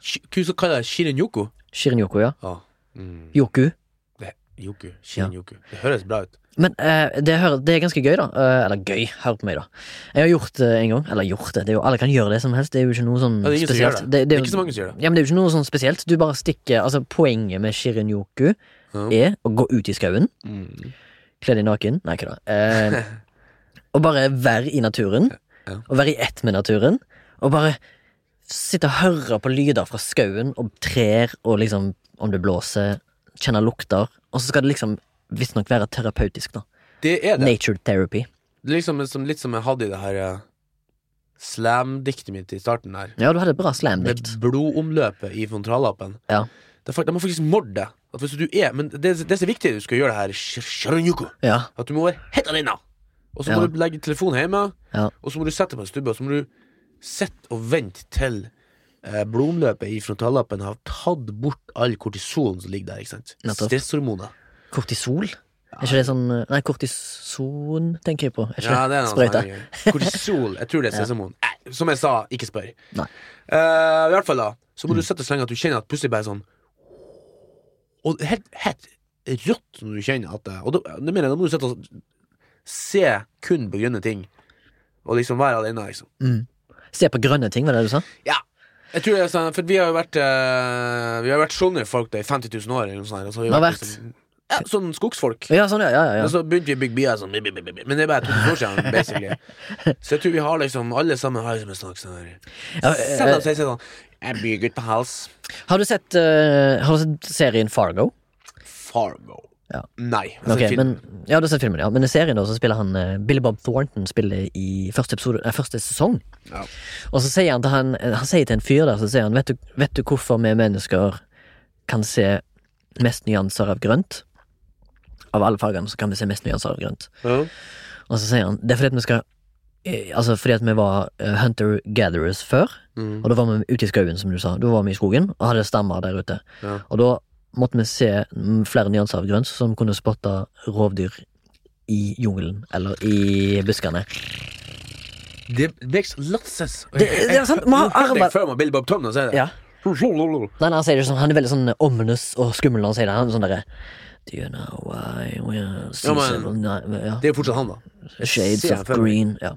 [SPEAKER 1] Sh- Hva så kaller jeg det? Shirinyoku?
[SPEAKER 2] Shirinyoku, ja.
[SPEAKER 1] Ja. Mm.
[SPEAKER 2] Yoku.
[SPEAKER 1] Yoku. Shin-yoku. Det høres bra ut.
[SPEAKER 2] Men eh, det, hører, det er ganske gøy, da. Eh, eller gøy, hør på meg, da. Jeg har gjort det en gang. Eller gjort det. det er jo, alle kan gjøre det som helst. Det er jo ikke noe sånn
[SPEAKER 1] Ja, det er ingen som gjør
[SPEAKER 2] spesielt.
[SPEAKER 1] det.
[SPEAKER 2] Det,
[SPEAKER 1] Det
[SPEAKER 2] er
[SPEAKER 1] er
[SPEAKER 2] jo-
[SPEAKER 1] ikke så mange som gjør det.
[SPEAKER 2] ja, men det er jo ikke noe sånn spesielt. Du bare stikker Altså, poenget med shirinyoku
[SPEAKER 1] Ja.
[SPEAKER 2] er å gå ut i skauen,
[SPEAKER 1] Mm.
[SPEAKER 2] kle deg naken Nei, ikke da. Eh, og bare være i naturen.
[SPEAKER 1] Ja.
[SPEAKER 2] Og være i ett med naturen. Og bare sitte og høre på lyder fra skauen og trær og liksom Om det blåser, kjenne lukter. Og så skal det liksom visstnok være terapeutisk, da.
[SPEAKER 1] Det er det.
[SPEAKER 2] Nature therapy.
[SPEAKER 1] det er liksom, som, litt som jeg hadde i det her eh, slam-diktet mitt i starten her.
[SPEAKER 2] Ja, du hadde et bra
[SPEAKER 1] Med
[SPEAKER 2] slamdikt.
[SPEAKER 1] blodomløpet i frontallappen.
[SPEAKER 2] Ja.
[SPEAKER 1] Det er fakt- De har faktisk målt det. At hvis du er, men det, det som er viktig du skal gjøre det her, sh- shirinyoku,
[SPEAKER 2] Ja.
[SPEAKER 1] at du må være helt alene. Og så må
[SPEAKER 2] Ja.
[SPEAKER 1] du legge telefonen hjemme,
[SPEAKER 2] Ja.
[SPEAKER 1] og så må du sette deg på en stubbe, og så må du sitte og vente til eh, blodomløpet i frontallappen har tatt bort all kortisolen som ligger der. ikke sant?
[SPEAKER 2] Nettopp.
[SPEAKER 1] Stresshormoner.
[SPEAKER 2] Kortisol? Er ikke det sånn Nei, kortison tenker jeg på. Er ikke
[SPEAKER 1] Ja, det er noe
[SPEAKER 2] Sprøyte.
[SPEAKER 1] sånn greier. Kortisol. Jeg tror det er sesamon. Nei, Som jeg sa, ikke spør.
[SPEAKER 2] Nei. Mm.
[SPEAKER 1] Eh, I hvert fall, da. Så må du sette så lenge at du kjenner at plutselig bare sånn Og helt, helt rått når du kjenner at det Og da, det mener jeg, da må du sette og se kun
[SPEAKER 2] Mm.
[SPEAKER 1] på grønne ting. Og liksom være alene, liksom.
[SPEAKER 2] Se på grønne ting, var det du sa?
[SPEAKER 1] Ja. Jeg tror det er sånn, for vi har jo vært eh, Vi har vært sånne folk da i 50 000 år. Eller noe sånt, her, og så har vi
[SPEAKER 2] Hva har
[SPEAKER 1] vært,
[SPEAKER 2] vært?
[SPEAKER 1] liksom- ja, sånn skogsfolk.
[SPEAKER 2] Ja, sånn, ja, ja, ja,
[SPEAKER 1] Men
[SPEAKER 2] ja.
[SPEAKER 1] så begynte vi å bygge byer sånn bi- bi- bi- bi- bi- Men det er bare 2000 år siden, basically. Så jeg tror vi har liksom alle sammen har liksom en slags sånn her
[SPEAKER 2] Ja,
[SPEAKER 1] Selv om
[SPEAKER 2] eh,
[SPEAKER 1] de sier sånn Jeg bygger ut på hals.
[SPEAKER 2] Har du sett, eh, har du sett serien Fargo?
[SPEAKER 1] Fargo.
[SPEAKER 2] Ja.
[SPEAKER 1] Nei. altså
[SPEAKER 2] Ok,
[SPEAKER 1] film.
[SPEAKER 2] men, ja, du har sett filmen, ja. Men i serien da, så spiller han eh, Billy Bob Thornton spiller i første, episode, nei, første sesong.
[SPEAKER 3] Ja.
[SPEAKER 2] Og så sier han til, han, eh, han sier til en fyr der, så sier han vet du, vet du hvorfor vi mennesker kan se mest nyanser av grønt? Av alle fargene så kan vi se mest nyanser av grønt.
[SPEAKER 1] Ja.
[SPEAKER 2] Og så sier han det er fordi at vi skal eh, Altså fordi at vi var eh, hunter-gatherers før,
[SPEAKER 1] Mm.
[SPEAKER 2] og da var vi ute i skauen, som du sa. Da var vi i skogen og hadde stammer der ute.
[SPEAKER 1] Ja.
[SPEAKER 2] Og da måtte vi se mm, flere nyanser av grønt, som kunne spotte rovdyr i jungelen eller i buskene.
[SPEAKER 1] Det makes lots of sense.
[SPEAKER 2] Det- det er sant, man har
[SPEAKER 1] Nå hørte jeg
[SPEAKER 2] arvet-
[SPEAKER 1] Før man Billy Bob Tom, og så er det
[SPEAKER 2] Ja. Nei, nei, han sier det sånn, han er veldig sånn ominous og skummel når han sier det. Han er sånn derre Do you know why we are
[SPEAKER 1] Ja, men-
[SPEAKER 2] seasonal ni- ja.
[SPEAKER 1] Det er jo fortsatt han, da.
[SPEAKER 2] Shades
[SPEAKER 1] ser
[SPEAKER 2] of
[SPEAKER 1] jeg for meg.
[SPEAKER 2] green. Ja.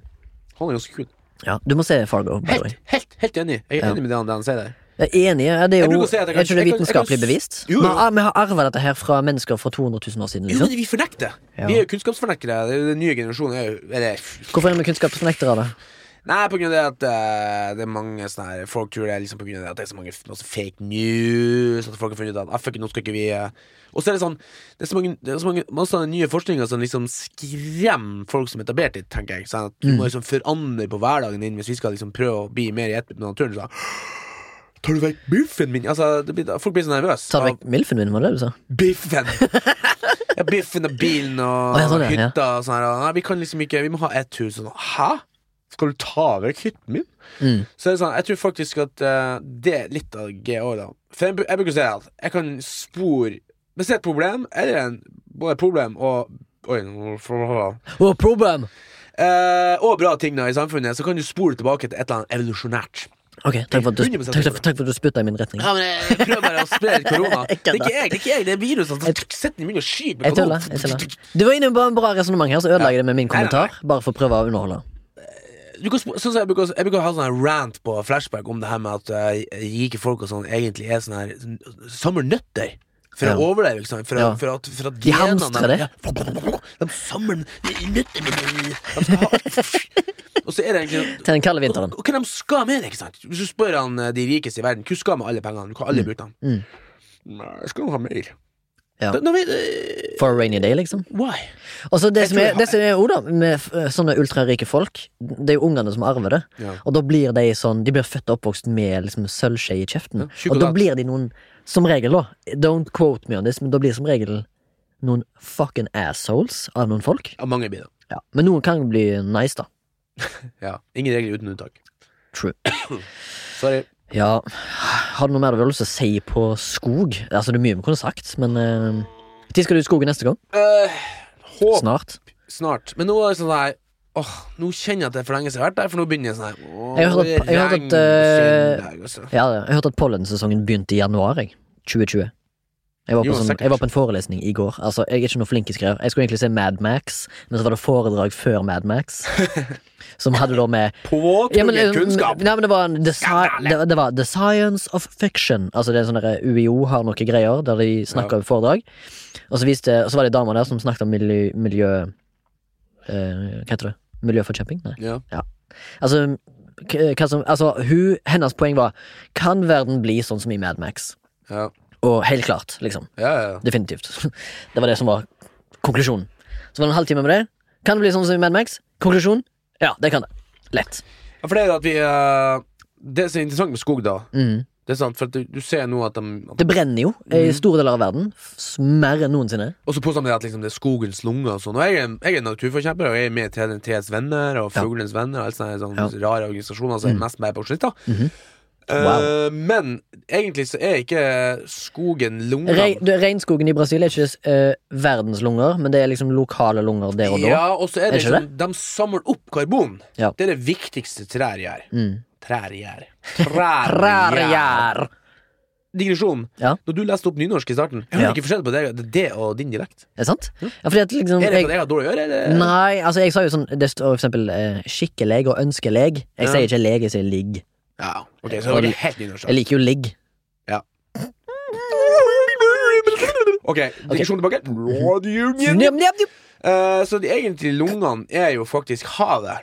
[SPEAKER 1] Han er ganske kul.
[SPEAKER 2] ja. Du må se Fargo, by the way.
[SPEAKER 1] Helt, helt, helt enig. Jeg er enig med det han, det han sier der.
[SPEAKER 2] Jeg er enig. Ja, det er
[SPEAKER 1] Jeg
[SPEAKER 2] jo
[SPEAKER 1] bruker å si at jeg
[SPEAKER 2] Er
[SPEAKER 1] kan-
[SPEAKER 2] ikke det
[SPEAKER 1] jeg kan-
[SPEAKER 2] vitenskapelig
[SPEAKER 1] jeg kan-
[SPEAKER 2] bevist?
[SPEAKER 1] Jo, jo.
[SPEAKER 2] Vi har, vi har arva dette her fra mennesker for 200 000 år siden.
[SPEAKER 1] Jo, men
[SPEAKER 2] Liksom.
[SPEAKER 1] vi fornekter!
[SPEAKER 2] Ja.
[SPEAKER 1] Vi er jo kunnskapsfornektere. Det er jo Den nye generasjonen er jo eller,
[SPEAKER 2] Hvorfor er vi kunnskapsfornektere av det?
[SPEAKER 1] Nei, på grunn av det at eh, det er mange sånne her Folk tror det er liksom på grunn av det at det er så mange f- masse fake news. At folk har funnet ut at ah, fuck, it, nå skal ikke vi eh». Og så er det sånn Det er så mange, det er så mange masse sånne nye forskninger som liksom skremmer folk som er etablert i det, tenker jeg. Sånn at du
[SPEAKER 2] Mm.
[SPEAKER 1] må liksom forandre på hverdagen din hvis vi skal liksom prøve å bli mer i ett med naturen. Sånn. Tar du vekk biffen min? Altså, det blir, folk blir så nervøse.
[SPEAKER 2] Ta
[SPEAKER 1] av-
[SPEAKER 2] vekk milfen min, var det det du sa?
[SPEAKER 1] Biffen! Ja, biffen og bilen og
[SPEAKER 2] Å, ja, sånn, ja, ja.
[SPEAKER 1] hytta og sånn. her, og Nei, vi kan liksom ikke Vi må ha ett hus. Og sånn. Hæ? Skal du ta vekk hytten min?
[SPEAKER 2] Mm.
[SPEAKER 1] Så det er sånn, jeg tror faktisk at eh, det er litt av GO, da. For jeg, bru- jeg bruker å si at jeg kan spore Hvis det er et problem, eller en, både et problem og Oi, nå får jeg-
[SPEAKER 2] Oh, problem!
[SPEAKER 1] Eh, og bra ting da i samfunnet, så kan du spole tilbake til et eller annet evolusjonært.
[SPEAKER 2] Ok, takk for at du,
[SPEAKER 1] 100%
[SPEAKER 2] takk, takk for at du spytta i min retning.
[SPEAKER 1] Ja, men jeg prøver bare å spre korona. Det
[SPEAKER 2] eh, Jeg kødder.
[SPEAKER 1] er ikke jeg, det er ikke jeg, det er virusene som sitter i munnen og skyter
[SPEAKER 2] Jeg tuller. jeg tuller Du var inne på en bra resonnement her, så ødela jeg det med min
[SPEAKER 1] Nei, nei, nei.
[SPEAKER 2] kommentar. Bare for å prøve å underholde.
[SPEAKER 1] du kan, sp- sånn som jeg, bruker, jeg bruker å ha sånn her rant på flashback om det her med at eh, rike folk og sånn egentlig er sånn her Samler nøtter for
[SPEAKER 2] Ja.
[SPEAKER 1] å overleve, ikke sant? For, å-
[SPEAKER 2] Ja.
[SPEAKER 1] for at, for at
[SPEAKER 2] De hamstrer det.
[SPEAKER 1] Ja, de samler nøtter mine De skal ha Og så er det egentlig
[SPEAKER 2] Til den kalde vinteren.
[SPEAKER 1] og, og hva de skal med det, ikke sant? Hvis du spør han, eh, de rikeste i verden Hva skal med alle pengene? Hva alle bruker dem?
[SPEAKER 2] Mm.
[SPEAKER 1] Nei, jeg skal jo ha mer.
[SPEAKER 2] Ja.
[SPEAKER 1] Da, da, vet- eh,
[SPEAKER 2] For a rainy day, liksom.
[SPEAKER 1] why?
[SPEAKER 2] Og så det
[SPEAKER 1] Jeg
[SPEAKER 2] som
[SPEAKER 1] tror
[SPEAKER 2] er,
[SPEAKER 1] jeg har-
[SPEAKER 2] det som er jo da, med eh, sånne ultrarike folk, det er jo ungene som arver det.
[SPEAKER 1] Ja.
[SPEAKER 2] Og da blir de sånn De blir født og oppvokst med liksom, sølvskje i kjeften.
[SPEAKER 1] Ja, sjokolade.
[SPEAKER 2] og da blir de noen Som regel, da. Don't quote me on this, men da blir som regel noen fucking assholes av noen folk.
[SPEAKER 1] Ja, mange blir det.
[SPEAKER 2] Men noen kan bli nice, da.
[SPEAKER 1] Ja. Ingen regler uten unntak.
[SPEAKER 2] True.
[SPEAKER 1] Sorry.
[SPEAKER 2] Ja Har du noe mer du har lyst til å si på skog? Altså Det er mye vi kunne sagt, men eh, Når skal du i skogen neste gang?
[SPEAKER 1] Uh, håp
[SPEAKER 2] Snart?
[SPEAKER 1] snart. Men nå er det sånn her Åh, nå kjenner jeg at det er for lenge siden jeg har vært der, for nå begynner jeg sånn her åh,
[SPEAKER 2] Jeg har hørt
[SPEAKER 1] det
[SPEAKER 2] at- jeg har hørt at,
[SPEAKER 1] regner
[SPEAKER 2] eh,
[SPEAKER 1] søndag, altså.
[SPEAKER 2] Ja, ja. jeg hørte at pollensesongen begynte i januar. Jeg. 2020. Jeg var,
[SPEAKER 1] Jo,
[SPEAKER 2] på sånn,
[SPEAKER 1] sikkert.
[SPEAKER 2] jeg var på en forelesning i går. Altså, Jeg er ikke noe flink i skrev. Jeg skulle egentlig se Mad Max, men så var det foredrag før Mad Max. som hadde da med
[SPEAKER 1] Påtvunget
[SPEAKER 2] Ja, men, eh,
[SPEAKER 1] kunnskap!
[SPEAKER 2] Nei, men det, var en, the, sci-
[SPEAKER 1] Skandale.
[SPEAKER 2] det, det var The Science of Fiction. Altså det er sånn der, UiO har noen greier der de snakker om foredrag. Og så, viste, og så var det ei dame der som snakket om miljø, miljø eh, Hva heter det? Miljøforkjemping? Nei.
[SPEAKER 1] Ja.
[SPEAKER 2] Altså, k- hva som, altså hun, hennes poeng var Kan verden bli sånn som i Mad Max?
[SPEAKER 1] Ja.
[SPEAKER 2] Og helt klart, liksom.
[SPEAKER 1] Ja, ja, ja.
[SPEAKER 2] Definitivt. Det var det som var konklusjonen. Så var det en halvtime med det. Kan det bli sånn som i Mad Max? Konklusjon? Ja, det kan det. Lett.
[SPEAKER 1] Ja, For det er jo at vi eh, Det som er interessant med skog, da
[SPEAKER 2] Mm.
[SPEAKER 1] Det er sant, for at du, du ser nå at de at,
[SPEAKER 2] Det brenner jo eh,
[SPEAKER 1] Mhm.
[SPEAKER 2] i store deler av verden. f- Mer enn noensinne.
[SPEAKER 1] Og så påstår de at liksom, det er skogens lunger og sånn. Og jeg er, jeg er naturforkjemper, og jeg er med i Tre- Treets venner og
[SPEAKER 2] Ja.
[SPEAKER 1] Fuglenes venner og alle sånne, sånne
[SPEAKER 2] Ja.
[SPEAKER 1] rare organisasjoner som er mest med på slitt, da.
[SPEAKER 2] Mhm.
[SPEAKER 1] Eh,
[SPEAKER 2] Wow.
[SPEAKER 1] men egentlig så er ikke skogen lungene.
[SPEAKER 2] Re du, regnskogen i Brasil er ikke eh, verdenslunger, men det er liksom lokale lunger der og da.
[SPEAKER 1] Ja, og så er
[SPEAKER 2] Er
[SPEAKER 1] det
[SPEAKER 2] ikke
[SPEAKER 1] liksom, de samler opp karbon.
[SPEAKER 2] Ja.
[SPEAKER 1] Det er det viktigste trær gjør.
[SPEAKER 2] Mm.
[SPEAKER 1] Trær gjør.
[SPEAKER 2] Rar,
[SPEAKER 1] Trær gjør.
[SPEAKER 2] rar.
[SPEAKER 1] Digresjon.
[SPEAKER 2] Ja.
[SPEAKER 1] Når du leste opp nynorsk i starten, jeg hører
[SPEAKER 2] Ja.
[SPEAKER 1] ikke forskjell på det, det, er det og din dialekt.
[SPEAKER 2] Er det sant? Ja, fordi at liksom
[SPEAKER 1] Hm? Er det
[SPEAKER 2] jeg,
[SPEAKER 1] fordi jeg har dårlig øre, eller?
[SPEAKER 2] Nei, altså jeg sa jo sånn Det står for eksempel eh, skikkeleg og ønskeleg. Jeg
[SPEAKER 1] Ja.
[SPEAKER 2] sier ikke leg, jeg sier ligg.
[SPEAKER 1] Ja, ok, så var det helt
[SPEAKER 2] Jeg
[SPEAKER 1] nynorsk.
[SPEAKER 2] liker jo ligg.
[SPEAKER 1] OK, diskusjon tilbake. Radio Union.
[SPEAKER 2] Njam, njam, njam.
[SPEAKER 1] Eh, så de egentlig lungene er jo faktisk havet.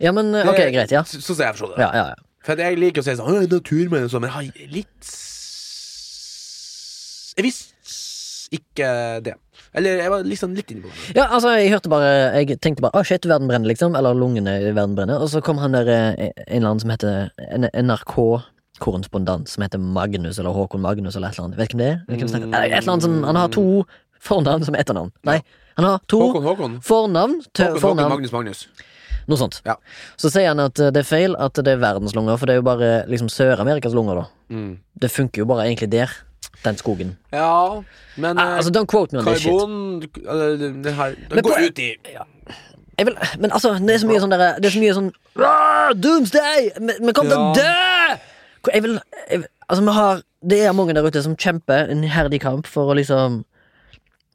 [SPEAKER 2] Ja, men eh, ok,
[SPEAKER 1] Det-
[SPEAKER 2] greit. Ja.
[SPEAKER 1] Så så jeg forstår det.
[SPEAKER 2] Ja, ja, ja.
[SPEAKER 1] For at jeg liker å si sånn «Å, Naturmenn og sånn, men jeg er litt s- Jeg visste s- ikke det. Eller jeg var liksom litt inne på det.
[SPEAKER 2] ja, altså, jeg hørte bare Jeg tenkte bare 'Å, shit, verden brenner', liksom. Eller lungene i verden brenner. Og så kom han der eh, en eller annen som heter en NRK-korrespondent, som heter Magnus, eller Håkon Magnus, eller et eller annet. Vet du hvem det er? Vet du hvem som- Eller Et eller annet sånn Han har to fornavn som etternavn. Nei, han har to
[SPEAKER 1] Håkon, Håkon.
[SPEAKER 2] fornavn til
[SPEAKER 1] Håkon, Håkon
[SPEAKER 2] fornavn.
[SPEAKER 1] Magnus Magnus.
[SPEAKER 2] Noe sånt.
[SPEAKER 1] Ja.
[SPEAKER 2] Så sier han at eh, det er feil at det er verdens lunger, for det er jo bare liksom Sør-Amerikas lunger, da.
[SPEAKER 1] Mm.
[SPEAKER 2] Det funker jo bare egentlig der. Den skogen.
[SPEAKER 1] Ja, men eh,
[SPEAKER 2] Ah, altså, don't quote me on this shit.
[SPEAKER 1] Karbon eller det- det her
[SPEAKER 2] Men
[SPEAKER 1] Det går
[SPEAKER 2] på-
[SPEAKER 1] ut i
[SPEAKER 2] Jeg vil, men altså, det er så mye sånn derre Det er så mye sånn «Åh, Doomsday! Vi vi kommer til å
[SPEAKER 1] Ja.
[SPEAKER 2] dø! Hvor- Jeg vil, jeg, vil- altså, vi har Det er mange der ute som kjemper en iherdig kamp for å liksom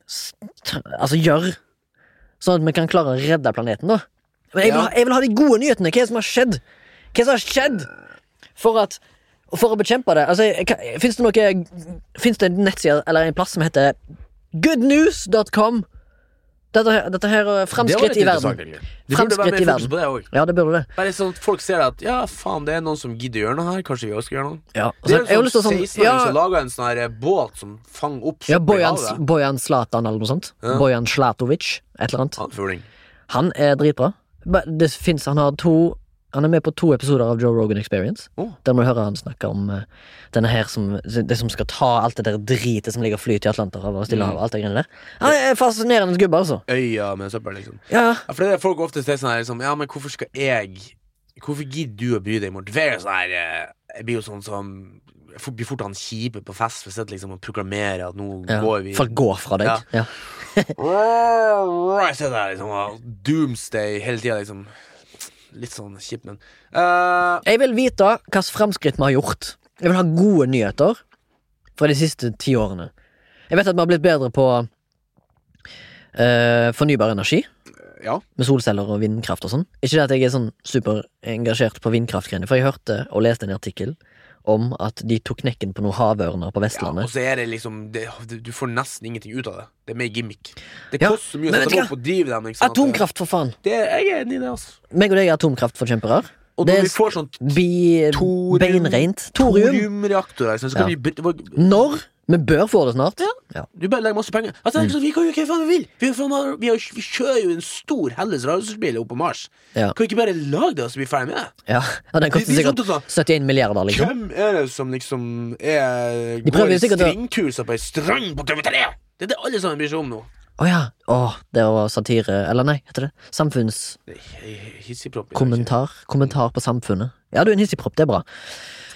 [SPEAKER 2] s- tr- Altså, gjøre sånn at vi kan klare å redde planeten, da. Men jeg vil,
[SPEAKER 1] Ja.
[SPEAKER 2] ha, jeg vil ha de gode nyhetene. Hva er det som har skjedd? Hva er det som har skjedd for at For å bekjempe det? Altså, jeg kan- Fins det noe Fins det en nettside eller en plass som heter goodnews.com? Dette, dette her er framskritt i verden.
[SPEAKER 1] Det burde være
[SPEAKER 2] Fremskritt i
[SPEAKER 1] mer fokus
[SPEAKER 2] verden.
[SPEAKER 1] på det òg.
[SPEAKER 2] Ja, det burde det.
[SPEAKER 1] Bare sånn at folk ser at ja, faen, det er noen som gidder gjøre noe her. Kanskje vi også skal gjøre noe.
[SPEAKER 2] Ja.
[SPEAKER 1] Det
[SPEAKER 2] Altså,
[SPEAKER 1] er
[SPEAKER 2] jeg har
[SPEAKER 1] en
[SPEAKER 2] lyst til
[SPEAKER 1] sånn
[SPEAKER 2] å
[SPEAKER 1] 16-åring
[SPEAKER 2] sånn
[SPEAKER 1] som
[SPEAKER 2] Ja,
[SPEAKER 1] lager en sånn her eh, båt som fanger opp
[SPEAKER 2] ja
[SPEAKER 1] søppel i
[SPEAKER 2] Bojan
[SPEAKER 1] havet.
[SPEAKER 2] Bojan Zlatan eller noe sånt.
[SPEAKER 1] Ja.
[SPEAKER 2] Bojan Zlatovic. Et eller annet.
[SPEAKER 1] Han er fuling.
[SPEAKER 2] Han er dritbra. Ba- Det finnes, han, har to, han er med på to episoder av Joe Rogan Experience.
[SPEAKER 1] Å.
[SPEAKER 2] Der må du høre han snakke om eh, denne her som, det som skal ta alt det der dritet som ligger og flyter i Atlanterhavet og
[SPEAKER 1] Mm.
[SPEAKER 2] Stillehavet. og Alt det greiene der. Han er en fascinerende gubbe, altså.
[SPEAKER 1] Øya med søppel, liksom.
[SPEAKER 2] Ja,
[SPEAKER 1] Ja, for det er det folk ofte sier sånn her liksom, Ja, men hvorfor skal jeg Hvorfor gidder du å bry deg, Morten? For jeg er jo sånn her eh, Jeg blir jo sånn som Jeg får- blir fort han kjipe på fest hvis jeg liksom og proklamerer at nå
[SPEAKER 2] ja.
[SPEAKER 1] går vi
[SPEAKER 2] Folk går fra deg.
[SPEAKER 1] Ja.
[SPEAKER 2] Ja.
[SPEAKER 1] Right, sitter her liksom og Doomsday hele tida, liksom. Litt sånn kjipt, men Eh,
[SPEAKER 2] Jeg vil vite hvilke framskritt vi har gjort. Jeg vil ha gode nyheter fra de siste ti årene. Jeg vet at vi har blitt bedre på eh, fornybar energi.
[SPEAKER 1] Ja.
[SPEAKER 2] Med solceller og vindkraft og sånn. Ikke det at jeg er sånn superengasjert på vindkraftgreiene, for jeg hørte og leste en artikkel om at de tok knekken på noen havørner på
[SPEAKER 1] Ja, og
[SPEAKER 2] Vestlandet.
[SPEAKER 1] så er det liksom det, Du du får nesten ingenting ut av det. Det er mer gimmick. Det
[SPEAKER 2] Ja,
[SPEAKER 1] koster så mye å
[SPEAKER 2] men vet
[SPEAKER 1] sette
[SPEAKER 2] du
[SPEAKER 1] opp og drive dem. Liksom, at det-
[SPEAKER 2] Atomkraft, for faen!
[SPEAKER 1] Det, jeg er enig i det, altså.
[SPEAKER 2] Meg og deg er atomkraftforkjempere.
[SPEAKER 1] Og
[SPEAKER 2] Det
[SPEAKER 1] når
[SPEAKER 2] er
[SPEAKER 1] vi får sånn
[SPEAKER 2] Bi...
[SPEAKER 1] Thorium.
[SPEAKER 2] Beinreint. Thorium.
[SPEAKER 1] thoriumreaktorer, liksom, så kan
[SPEAKER 2] Ja.
[SPEAKER 1] vi bytte
[SPEAKER 2] Når? Mm. Vi bør få det snart. Ja.
[SPEAKER 1] Du bare legger masse penger. Altså, det er ikke sånn, Vi kan jo ikke hva faen vi vil! Vi, er faen, har- vi, har, vi kjører jo en stor Helles racerbil opp på Mars.
[SPEAKER 2] Ja.
[SPEAKER 1] Kan vi ikke bare lage det, og så bli ferdig med det?
[SPEAKER 2] Ja, ja den koster
[SPEAKER 1] De- de
[SPEAKER 2] sikkert
[SPEAKER 1] sånn,
[SPEAKER 2] 71 milliarder, liksom.
[SPEAKER 1] Hvem er det som liksom er
[SPEAKER 2] De prøver
[SPEAKER 1] går i
[SPEAKER 2] sikkert å-
[SPEAKER 1] stringkurser på ei strand på TV3? Det er det alle sammen bryr seg om nå.
[SPEAKER 2] Å ja. Å, det var satire Eller nei, heter det? Samfunnskommentar.
[SPEAKER 1] Det er hi- Hissigpropp. i dag, ikke?
[SPEAKER 2] Kommentar på samfunnet. Ja, du er en hissigpropp. Det er bra.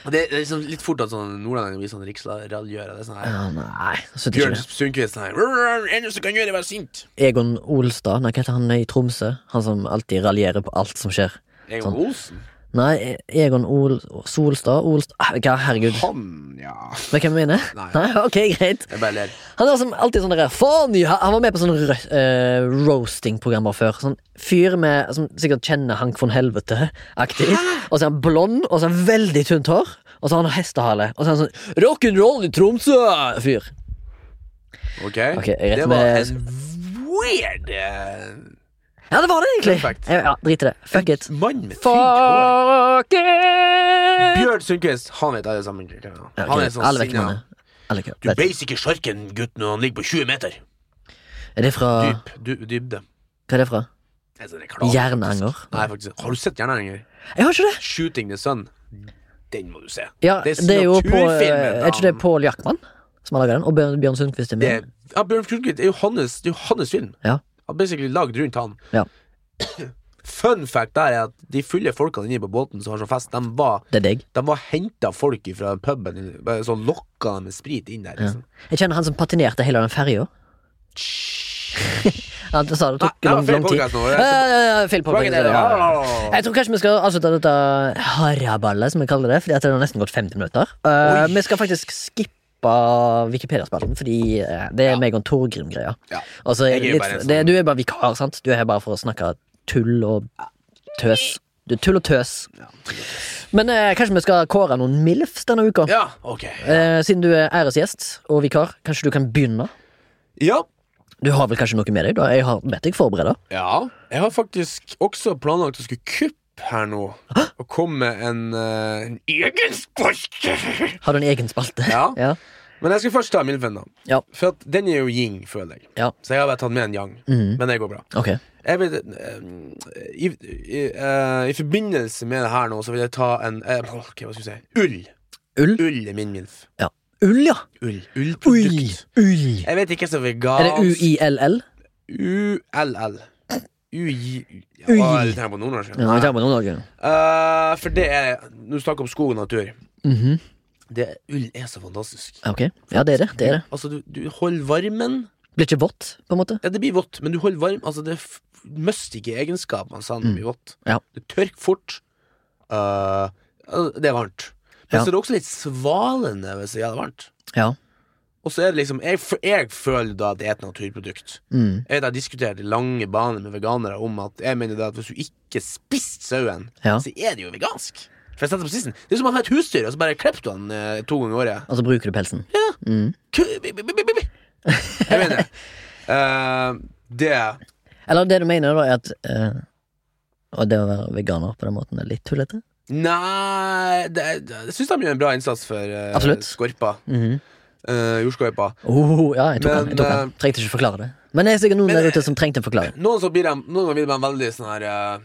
[SPEAKER 1] Og Det er liksom litt fort at sånn nordlendinger blir sånn riksraljører. Det er sånn her
[SPEAKER 2] Ja, nei, jeg synes
[SPEAKER 1] Bjørn
[SPEAKER 2] ikke det.
[SPEAKER 1] Sundquist sånn her "Rrr, Eneste som kan gjøre, er å være sint.
[SPEAKER 2] Egon Olstad, nei, hva heter han i Tromsø? Han som alltid raljerer på alt som skjer.
[SPEAKER 1] Egon
[SPEAKER 2] Sånn.
[SPEAKER 1] Olsen?
[SPEAKER 2] Nei, E- Egon Ol Solstad Olstad Ah, Hva, herregud.
[SPEAKER 1] Han, ja.
[SPEAKER 2] Vet du hvem jeg mener?
[SPEAKER 1] Nei.
[SPEAKER 2] ok, greit.
[SPEAKER 1] Jeg bare ler.
[SPEAKER 2] Han er som alltid sånn der Faen, ja! Han var med på sånn rø- eh, roasting-program bare før. Sånn fyr med, som sikkert kjenner Hank von Helvete-aktig. Og så er han blond, og så er han veldig tynt hår. Og så har han hestehale. Og så er han sånn rock'n'roll i Tromsø-fyr.
[SPEAKER 1] Ok,
[SPEAKER 2] Ok, jeg vet
[SPEAKER 1] Det
[SPEAKER 2] med-
[SPEAKER 1] var en weird eh,
[SPEAKER 2] Ja, det var det, egentlig.
[SPEAKER 1] Perfekt.
[SPEAKER 2] Ja, ja, Drit i det. Fuck it.
[SPEAKER 1] mann med fint hår.
[SPEAKER 2] Fuck it!
[SPEAKER 1] Bjørn Sundquist, han vet alle sammen. hvem det er.
[SPEAKER 2] Ja,
[SPEAKER 1] Han
[SPEAKER 2] ok,
[SPEAKER 1] er sånn
[SPEAKER 2] Alle vet hvem
[SPEAKER 1] sinna.
[SPEAKER 2] han er. Alle vet.
[SPEAKER 1] Du beis ikke sjarken, gutt, når han ligger på 20 meter.
[SPEAKER 2] Er det fra
[SPEAKER 1] Dyp, du, dybde.
[SPEAKER 2] Hva er det fra?
[SPEAKER 1] Det er sånn reklame,
[SPEAKER 2] Jernanger?
[SPEAKER 1] faktisk. Nei, faktisk. Har du sett Jernanger?
[SPEAKER 2] Jeg har ikke det.
[SPEAKER 1] Shooting the Sun. Den må du se.
[SPEAKER 2] Ja,
[SPEAKER 1] Det er
[SPEAKER 2] det er jo på eh,
[SPEAKER 1] naturfilmen,
[SPEAKER 2] Er ikke det
[SPEAKER 1] da.
[SPEAKER 2] Pål Jackman som har laga den? Og Bjørn Bjørn Sundquist er
[SPEAKER 1] Det,
[SPEAKER 2] med?
[SPEAKER 1] ja, Bjørn Sundquist er jo hans, det er jo hans film.
[SPEAKER 2] Ja.
[SPEAKER 1] Han er basically lagd rundt han.
[SPEAKER 2] Ja.
[SPEAKER 1] Fun fact der er at de fulle folkene inne på båten som har sånn fest, de var
[SPEAKER 2] Det er deg.
[SPEAKER 1] De var henta folk fra puben, bare så lokka dem med sprit inn der. Liksom.
[SPEAKER 2] Jeg kjenner han som patinerte hele den ferja. Han sa det tok
[SPEAKER 1] Nei,
[SPEAKER 2] lang,
[SPEAKER 1] det var
[SPEAKER 2] lang tid.
[SPEAKER 1] feil podcast nå, det.
[SPEAKER 2] Eh, feil podcast,
[SPEAKER 1] Poenget er det,
[SPEAKER 2] ja, ja, ja.
[SPEAKER 1] ja.
[SPEAKER 2] Jeg tror kanskje vi skal avslutte dette haraballet, som vi kaller det. Fordi at det har nesten gått 50 minutter. Eh, vi skal faktisk skippe Wikipedia-spalten, fordi eh, det er meg og Torgrim-greia.
[SPEAKER 1] Ja.
[SPEAKER 2] Og så er
[SPEAKER 1] Jeg er jo
[SPEAKER 2] litt-
[SPEAKER 1] bare en sånn-
[SPEAKER 2] det- Du er bare vikar, sant? Du er her bare for å snakke tull og tøs. Du er tull og tøs. Men eh, kanskje vi skal kåre noen MILFs denne uka?
[SPEAKER 1] Ja, ok.
[SPEAKER 2] Eh, siden du er æresgjest og vikar, kanskje du kan begynne?
[SPEAKER 1] Ja.
[SPEAKER 2] Du har vel kanskje noe med deg? da? Jeg har bedt deg forberede.
[SPEAKER 1] ja. Jeg har faktisk også planlagt å skulle kuppe her nå. Og komme med en, eh, en egen spalte.
[SPEAKER 2] Har du en egen spalte?
[SPEAKER 1] Ja.
[SPEAKER 2] ja.
[SPEAKER 1] Men jeg skal først ta Milfen, da.
[SPEAKER 2] Ja.
[SPEAKER 1] For at den er jo yin, føler jeg.
[SPEAKER 2] Ja.
[SPEAKER 1] Så jeg har bare tatt med en yang.
[SPEAKER 2] Mhm.
[SPEAKER 1] Men det går bra.
[SPEAKER 2] Ok.
[SPEAKER 1] Jeg vil, eh, i, i, eh, I forbindelse med det her nå, så vil jeg ta en eh, åh, ok, Hva skal jeg si? Ull.
[SPEAKER 2] Ull?
[SPEAKER 1] Ull er min milf.
[SPEAKER 2] Ja. Ull, ja.
[SPEAKER 1] Ull.
[SPEAKER 2] Ull.
[SPEAKER 1] Ullprodukt.
[SPEAKER 2] Ull.
[SPEAKER 1] Jeg vet ikke så
[SPEAKER 2] Er det
[SPEAKER 1] vegansk
[SPEAKER 2] UILL?
[SPEAKER 1] ULL. UJ
[SPEAKER 2] Uj.
[SPEAKER 1] Åh, jeg tenker på nordnorsk.
[SPEAKER 2] Ja, vi tar på noen dager.
[SPEAKER 1] Eh, for det er Når du snakker om skog og natur
[SPEAKER 2] Mhm.
[SPEAKER 1] det, Ull er så fantastisk.
[SPEAKER 2] Ok. Ja, det er det. det er det.
[SPEAKER 1] Altså, du, du holder varmen.
[SPEAKER 2] Blir ikke vått, på en måte?
[SPEAKER 1] Ja, det blir vått, men du holder varm. Altså, det er f- mystige egenskaper av sand blir vått.
[SPEAKER 2] Mm. Ja.
[SPEAKER 1] Det tørker fort. Eh, det er varmt. Men
[SPEAKER 2] Ja.
[SPEAKER 1] så er det også litt svalende hvis det er jævlig varmt.
[SPEAKER 2] Ja.
[SPEAKER 1] Og så er det liksom jeg, f- jeg føler da at det er et naturprodukt.
[SPEAKER 2] Mm.
[SPEAKER 1] Jeg vet jeg diskuterte lange baner med veganere om at jeg mener det at hvis du ikke spiste sauen,
[SPEAKER 2] Ja.
[SPEAKER 1] så er det jo vegansk. For jeg setter på spissen. Det er som å ha et husdyr, og så bare klipper du den eh, to ganger i året.
[SPEAKER 2] Og så Altså, bruker du pelsen?
[SPEAKER 1] Ku- bi- bi- bi- bi- bi- bi. Jeg mener eh, det.
[SPEAKER 2] Eller det du mener, da, er at eh, Og det å være veganer på den måten er litt tullete?
[SPEAKER 1] Nei det, det, Jeg syns de gjør en bra innsats for eh,
[SPEAKER 2] Absolutt.
[SPEAKER 1] skorpa.
[SPEAKER 2] Mhm.
[SPEAKER 1] eh, jordskorpa.
[SPEAKER 2] oh, ja, jeg tok
[SPEAKER 1] Men, eh,
[SPEAKER 2] den. Jeg tok den. Trengte ikke forklare det. Men det er sikkert noen
[SPEAKER 1] Men-
[SPEAKER 2] der ute som trengte en forklaring.
[SPEAKER 1] Noen, så blir de, noen ganger blir de veldig sånn her eh,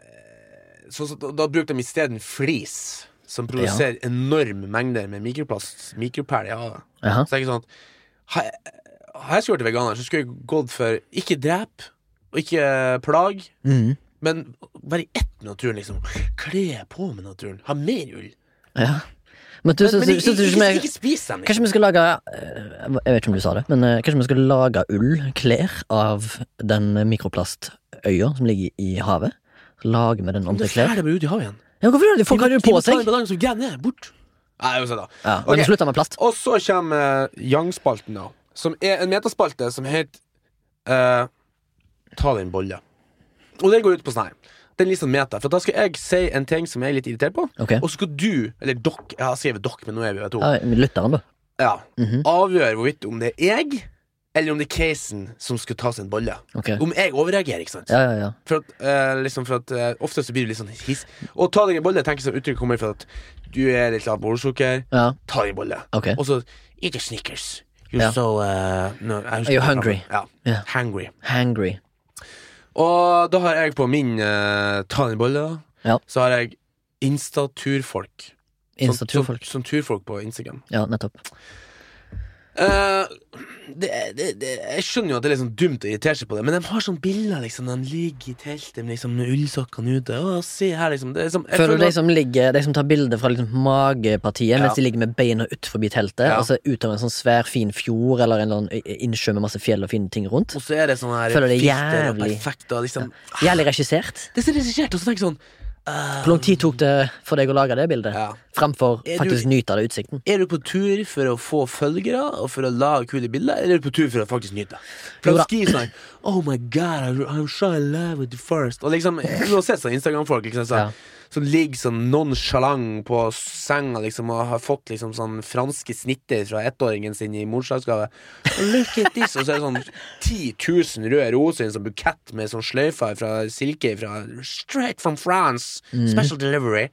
[SPEAKER 1] eh, så, så, Da da bruker de isteden flis, som produserer enorme mengder med mikroplast. Mikropæl i havet.
[SPEAKER 2] Jaha.
[SPEAKER 1] Så det er ikke sånn at Har jeg- har jeg skulle vært veganer, så skulle jeg gått for ikke drep og ikke plag,
[SPEAKER 2] Mhm.
[SPEAKER 1] men være i ett med naturen, liksom. Kle på med naturen. Ha mer ull.
[SPEAKER 2] Ja. Men du
[SPEAKER 1] Men,
[SPEAKER 2] syns
[SPEAKER 1] men ikke,
[SPEAKER 2] syns du
[SPEAKER 1] ikke,
[SPEAKER 2] ikke
[SPEAKER 1] ikke,
[SPEAKER 2] vi
[SPEAKER 1] spis dem. Liksom.
[SPEAKER 2] Kanskje vi skal lage eh, Jeg vet ikke om du sa det, men eh, kanskje vi skal lage ull, klær, av den mikroplastøya som ligger i havet? Så Lager vi den om
[SPEAKER 1] Men
[SPEAKER 2] til
[SPEAKER 1] Det
[SPEAKER 2] klær?
[SPEAKER 1] fjer det bare ut i havet igjen.
[SPEAKER 2] Ja, hvorfor gjør de det? Folk har det jo på
[SPEAKER 1] De må ta en
[SPEAKER 2] seg!
[SPEAKER 1] balanse og grave ned, bort. Nei, uansett, da.
[SPEAKER 2] Ja, men
[SPEAKER 1] Ok.
[SPEAKER 2] slutter med plast.
[SPEAKER 1] Og så kommer eh, Yang-spalten, da. Som er en metaspalte som heter eh, Ta din bolle. Og den går ut på sånn her. Den er litt sånn meta. For da skal jeg si en ting som jeg er litt irritert på,
[SPEAKER 2] Ok.
[SPEAKER 1] og så skal du, eller dere, jeg har skrevet dere, men nå er vi jo to,
[SPEAKER 2] Ja, lytteren, da.
[SPEAKER 1] ja,
[SPEAKER 2] Mhm.
[SPEAKER 1] avgjøre hvorvidt om det er jeg, eller om det er casen som skal ta seg en bolle.
[SPEAKER 2] Ok.
[SPEAKER 1] Om jeg overreagerer, ikke sant?
[SPEAKER 2] Ja, ja, ja.
[SPEAKER 1] For at, eh, liksom for at eh, Ofte så blir du litt sånn hiss. Og ta deg en bolle tenker jeg som uttrykk kommer fra at du er litt lav på blodsukker.
[SPEAKER 2] ja.
[SPEAKER 1] Ta deg en bolle.
[SPEAKER 2] Ok.
[SPEAKER 1] Og så Eat your Snickers. You're
[SPEAKER 2] Ja.
[SPEAKER 1] so uh, no, jeg husker
[SPEAKER 2] You're
[SPEAKER 1] ikke
[SPEAKER 2] hungry.
[SPEAKER 1] hva det var. Ja.
[SPEAKER 2] Ja.
[SPEAKER 1] Hungry.
[SPEAKER 2] Hangry.
[SPEAKER 1] Og da har jeg på min uh, ta den i bolle, da.
[SPEAKER 2] Ja.
[SPEAKER 1] Så har jeg Insta-turfolk. Som-
[SPEAKER 2] Instaturfolk.
[SPEAKER 1] Som, som turfolk på Instagram.
[SPEAKER 2] Ja, nettopp.
[SPEAKER 1] Eh, det, det, det, jeg skjønner jo at det er litt sånn dumt å irritere seg på det, men de har sånn bilder, liksom. De ligger i teltet med liksom, ullsokkene ute. Å, se her, liksom. Det er som, jeg
[SPEAKER 2] Føler du
[SPEAKER 1] føler
[SPEAKER 2] de
[SPEAKER 1] at-
[SPEAKER 2] som, ligger, de som tar bilder fra liksom magepartiet
[SPEAKER 1] Ja.
[SPEAKER 2] mens de ligger med beina utenfor teltet,
[SPEAKER 1] Ja.
[SPEAKER 2] og så utover en sånn svær, fin fjord eller en eller annen innsjø med masse fjell og fine ting rundt?
[SPEAKER 1] Og så er det sånn her
[SPEAKER 2] Føler det er
[SPEAKER 1] filter og
[SPEAKER 2] jævlig.
[SPEAKER 1] perfekt, og liksom
[SPEAKER 2] Jævlig regissert.
[SPEAKER 1] Det er så regissert, og så tenker jeg sånn eh,
[SPEAKER 2] Hvor lang tid tok det for deg å lage det bildet?
[SPEAKER 1] Ja.
[SPEAKER 2] Framfor
[SPEAKER 1] Er du-
[SPEAKER 2] faktisk nyte av det utsikten?
[SPEAKER 1] Er du på tur for å få følgere og for å lage kule bilder, eller er du på tur for å faktisk nyte? For
[SPEAKER 2] Jo da.
[SPEAKER 1] han skriver sånn Oh my god, I- I'm so in love with you first. Og liksom, du har sett sånn Instagram-folk liksom,
[SPEAKER 2] Ja.
[SPEAKER 1] sånn, som ligger sånn nonchalant på senga liksom, og har fått liksom sånn franske snitter fra ettåringen sin i morsdagsgave. Look at this! Og så er det sånn 10 000 røde roser i en sånn bukett med sånn sløyfer fra silke fra straight from France.
[SPEAKER 2] Mm.
[SPEAKER 1] Special delivery.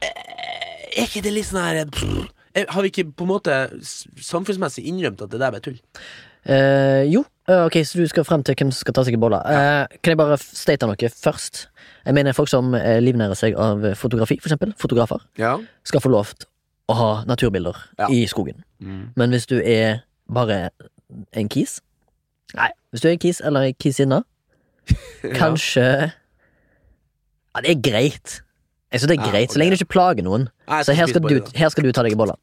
[SPEAKER 1] Er ikke det litt sånn her pff, er- Har vi ikke på en måte s- samfunnsmessig innrømt at det der bare er tull?
[SPEAKER 2] Eh, jo, Eh, ok, så du skal frem til hvem som skal ta seg i bolla. Eh, kan jeg bare f- state noe først? Jeg mener folk som eh, livnærer seg av fotografi, for eksempel. Fotografer.
[SPEAKER 1] Ja.
[SPEAKER 2] skal få lov til å ha naturbilder
[SPEAKER 1] Ja.
[SPEAKER 2] i skogen. Men hvis du er bare en kis Nei, hvis du er en kis eller en kisinne, kanskje ja. det er greit. Jeg synes det er
[SPEAKER 1] Ja,
[SPEAKER 2] greit,
[SPEAKER 1] ok.
[SPEAKER 2] Så lenge du ikke plager noen.
[SPEAKER 1] Nei, jeg
[SPEAKER 2] Så her
[SPEAKER 1] spise
[SPEAKER 2] skal,
[SPEAKER 1] boller,
[SPEAKER 2] du, her skal du ta deg i bolla.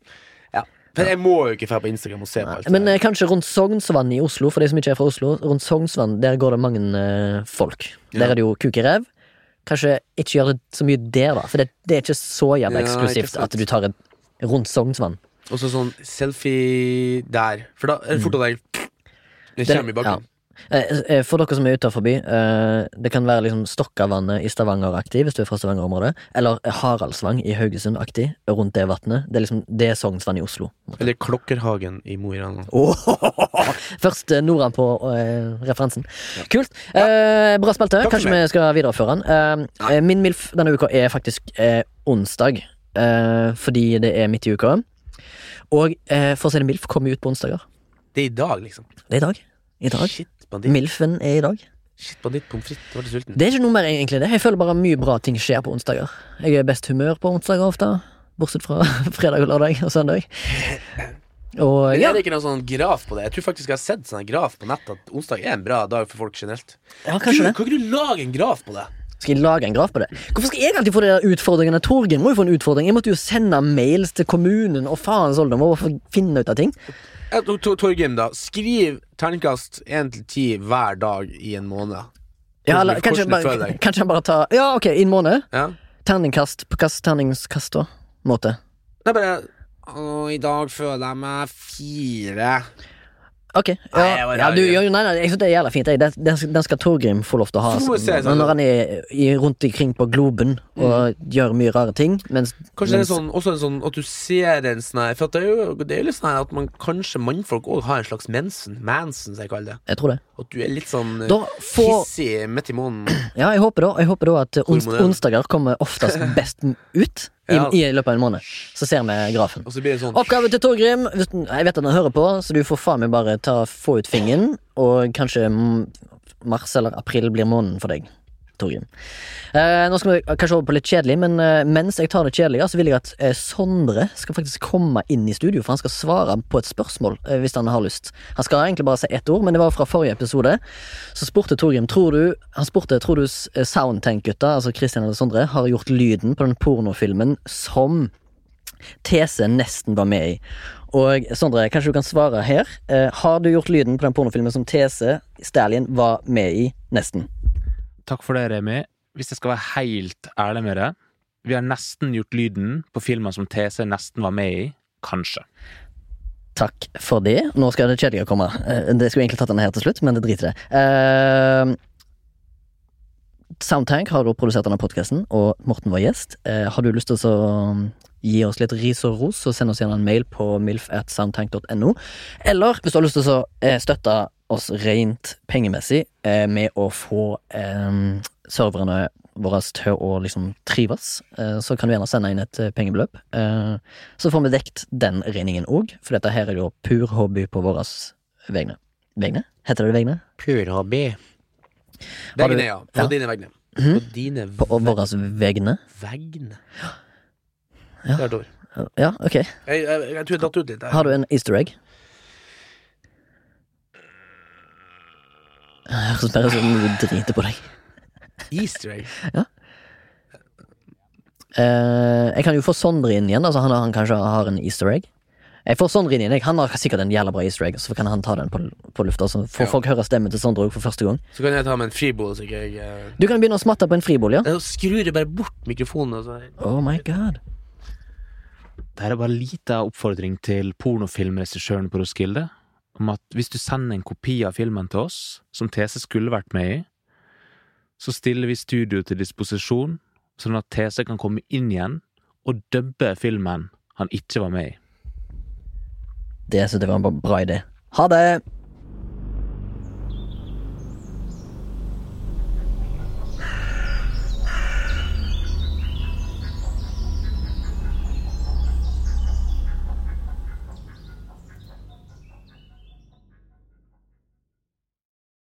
[SPEAKER 1] Ja. For jeg må jo ikke dra på Instagram og se på alt. det
[SPEAKER 2] Men
[SPEAKER 1] der.
[SPEAKER 2] eh, kanskje rundt Sognsvann i Oslo, for de som ikke er fra Oslo. Rundt Sognsvann, Der går det mange eh, folk.
[SPEAKER 1] Ja.
[SPEAKER 2] Der er det jo kuk i ræv. Kanskje ikke gjør det så mye der, da. For det, det er ikke så
[SPEAKER 1] Ja,
[SPEAKER 2] jævla
[SPEAKER 1] ikke
[SPEAKER 2] eksklusivt
[SPEAKER 1] sant.
[SPEAKER 2] at du tar en rundt Sognsvann.
[SPEAKER 1] Og så sånn selfie der. For da er det fort at jeg Det
[SPEAKER 2] Den-
[SPEAKER 1] kommer i
[SPEAKER 2] ja.
[SPEAKER 1] bakken.
[SPEAKER 2] Eh, eh, For dere som er utenfor by, eh, det kan være liksom Stokkavannet i Stavanger-aktig, hvis du er fra Stavanger-området, eller Haraldsvang i Haugesund-aktig, rundt det vannet. Det er liksom det er Sognsvann i Oslo.
[SPEAKER 1] Eller Klokkerhagen i Mo i Rana.
[SPEAKER 2] Først eh, Nora på eh, referansen. Kult. Eh, bra spilte.
[SPEAKER 1] Takk for
[SPEAKER 2] Kanskje vi skal videreføre den. Eh, eh, min MILF denne uka er faktisk eh, onsdag, eh, fordi det er midt i uka. Og eh, for å si det MILF kommer jo ut på onsdager.
[SPEAKER 1] Det er i dag, liksom.
[SPEAKER 2] Det er i dag. I dag.
[SPEAKER 1] Shit, banditt.
[SPEAKER 2] MILFen er i dag.
[SPEAKER 1] Shit, banditt, pommes frites. Nå ble jeg sulten.
[SPEAKER 2] Det er ikke noe mer egentlig det. Jeg føler bare mye bra ting skjer på onsdager. Jeg er i best humør på onsdager ofte. Bortsett fra fredag, og lørdag og søndag. Og
[SPEAKER 1] Men
[SPEAKER 2] ja,
[SPEAKER 1] er det ikke noen sånn graf på det? Jeg tror faktisk jeg har sett sånn graf på nettet at onsdag er en bra dag for folk generelt.
[SPEAKER 2] ja kanskje det.
[SPEAKER 1] Kan ikke du lage en graf på det?
[SPEAKER 2] Skal jeg lage en graf på det? Hvorfor skal jeg alltid få de der utfordringene? Torgen må jo få en utfordring. Jeg måtte jo sende mails til kommunen og faens oldemor for å finne ut av ting.
[SPEAKER 1] Ja, Eh, Tor- Tor- Torgrim, da. Skriv terningkast 1 til 10 hver dag i en måned.
[SPEAKER 2] Ja,
[SPEAKER 1] Hvordan-
[SPEAKER 2] eller, kanskje,
[SPEAKER 1] hvordan
[SPEAKER 2] jeg
[SPEAKER 1] du
[SPEAKER 2] bare,
[SPEAKER 1] føler deg.
[SPEAKER 2] kanskje jeg bare tar Ja, ok, i en måned.
[SPEAKER 1] Ja.
[SPEAKER 2] Terningkast. På hvilken terningskast da? Måte.
[SPEAKER 1] Det er bare Og i dag føler jeg meg fire.
[SPEAKER 2] Ok.
[SPEAKER 1] Nei, jeg
[SPEAKER 2] Ja,
[SPEAKER 1] var
[SPEAKER 2] ja, du,
[SPEAKER 1] rar, ja.
[SPEAKER 2] ja, nei, nei, jeg synes det er jævla fint. jeg. Den, den skal- den skal Torgrim få lov til å ha.
[SPEAKER 1] Så må vi se,
[SPEAKER 2] altså.
[SPEAKER 1] sånn-
[SPEAKER 2] Når han er i, rundt omkring på globen og gjør mye rare ting. Mens,
[SPEAKER 1] Kanskje det
[SPEAKER 2] mens,
[SPEAKER 1] er sånn, også en sånn at du ser en sånn her For at det er jo, det er jo litt sånn her at man kanskje mannfolk òg har en slags mensen. Mansen, som jeg kaller det.
[SPEAKER 2] Jeg tror det.
[SPEAKER 1] At du er litt sånn eh,
[SPEAKER 2] Da får
[SPEAKER 1] hissig midt i måneden.
[SPEAKER 2] Ja, jeg håper da, jeg håper da at ons,
[SPEAKER 1] Hormonell.
[SPEAKER 2] onsdager kommer oftest best ut i,
[SPEAKER 1] Ja.
[SPEAKER 2] i løpet av en måned. Så ser vi grafen.
[SPEAKER 1] Og så blir det sånn
[SPEAKER 2] Oppgave til Torgrim. Hvis den- Jeg vet at han hører på, så du får faen meg bare ta, få ut fingeren, og kanskje mm, mars eller april blir måneden for deg. Torgrim. Eh, nå skal vi kanskje over på litt kjedelig, men eh, mens jeg tar det kjedelige, så vil jeg at eh, Sondre skal faktisk komme inn i studio, for han skal svare på et spørsmål eh, hvis han har lyst. Han skal egentlig bare si ett ord, men det var fra forrige episode. Så spurte Torgrim tror du, Han spurte tror du s- eh, Soundtank-gutta, altså Christian eller Sondre, har gjort lyden på den pornofilmen som Tese nesten var med i. Og Sondre, kanskje du kan svare her. Eh, har du gjort lyden på den pornofilmen som Tese Stallion var med i? Nesten.
[SPEAKER 4] Takk for det, Remi. Hvis jeg skal være helt ærlig med deg Vi har nesten gjort lyden på filmer som TC nesten var med i. Kanskje.
[SPEAKER 2] Takk for det. Nå skal det kjedelige komme. Eh, det skulle jeg egentlig tatt denne her til slutt, men det driter jeg. Eh, Soundtank har da produsert denne podkasten, og Morten var gjest. Eh, har du lyst til å um, gi oss litt ris og ros, så send oss gjerne en mail på milf.soundtank.no. Eller hvis du har lyst til å eh, støtte oss rent pengemessig eh, med å få eh, serverne våre til å liksom trives, eh, så kan du gjerne sende inn et eh, pengebeløp. Eh, så får vi dekt den regningen òg, for dette her er jo pur hobby på våre vegne. Vegne? Heter det vegne?
[SPEAKER 1] Pur hobby.
[SPEAKER 2] Har du-
[SPEAKER 1] Vegne, ja. På
[SPEAKER 2] Ja.
[SPEAKER 1] dine vegne.
[SPEAKER 2] Mhm.
[SPEAKER 1] På dine
[SPEAKER 2] På våre vegne?
[SPEAKER 1] vegne.
[SPEAKER 2] Ja.
[SPEAKER 1] Det er et ord.
[SPEAKER 2] Ja, ok.
[SPEAKER 1] Jeg, jeg, jeg tror jeg datt ut litt. der.
[SPEAKER 2] Har du en easter egg? Høres bare ut som du driter på deg.
[SPEAKER 1] Easter egg.
[SPEAKER 2] Eh, jeg kan jo få Sondre inn igjen. Altså han, han kanskje har en easter egg. Jeg får Sondre inn igjen. jeg. Han har sikkert en jævla bra easter egg, så kan han ta den på, på lufta. Så får
[SPEAKER 1] Ja.
[SPEAKER 2] folk høre stemmen til Sondre òg for første gang.
[SPEAKER 1] Så kan jeg ta med en fribol, så ikke jeg eh,
[SPEAKER 2] Du kan begynne å smatte på en fribolig, ja.
[SPEAKER 1] Da skrur jeg bare bort mikrofonen. Og så.
[SPEAKER 2] Oh my god.
[SPEAKER 4] Dette er bare en liten oppfordring til pornofilmregissøren på Roskilde om at hvis du sender en kopi av filmen til oss, som TC skulle vært med i, så stiller vi studio til disposisjon, sånn at TC kan komme inn igjen og dubbe filmen han ikke var med i.
[SPEAKER 2] Det synes jeg var en bra idé. Ha det!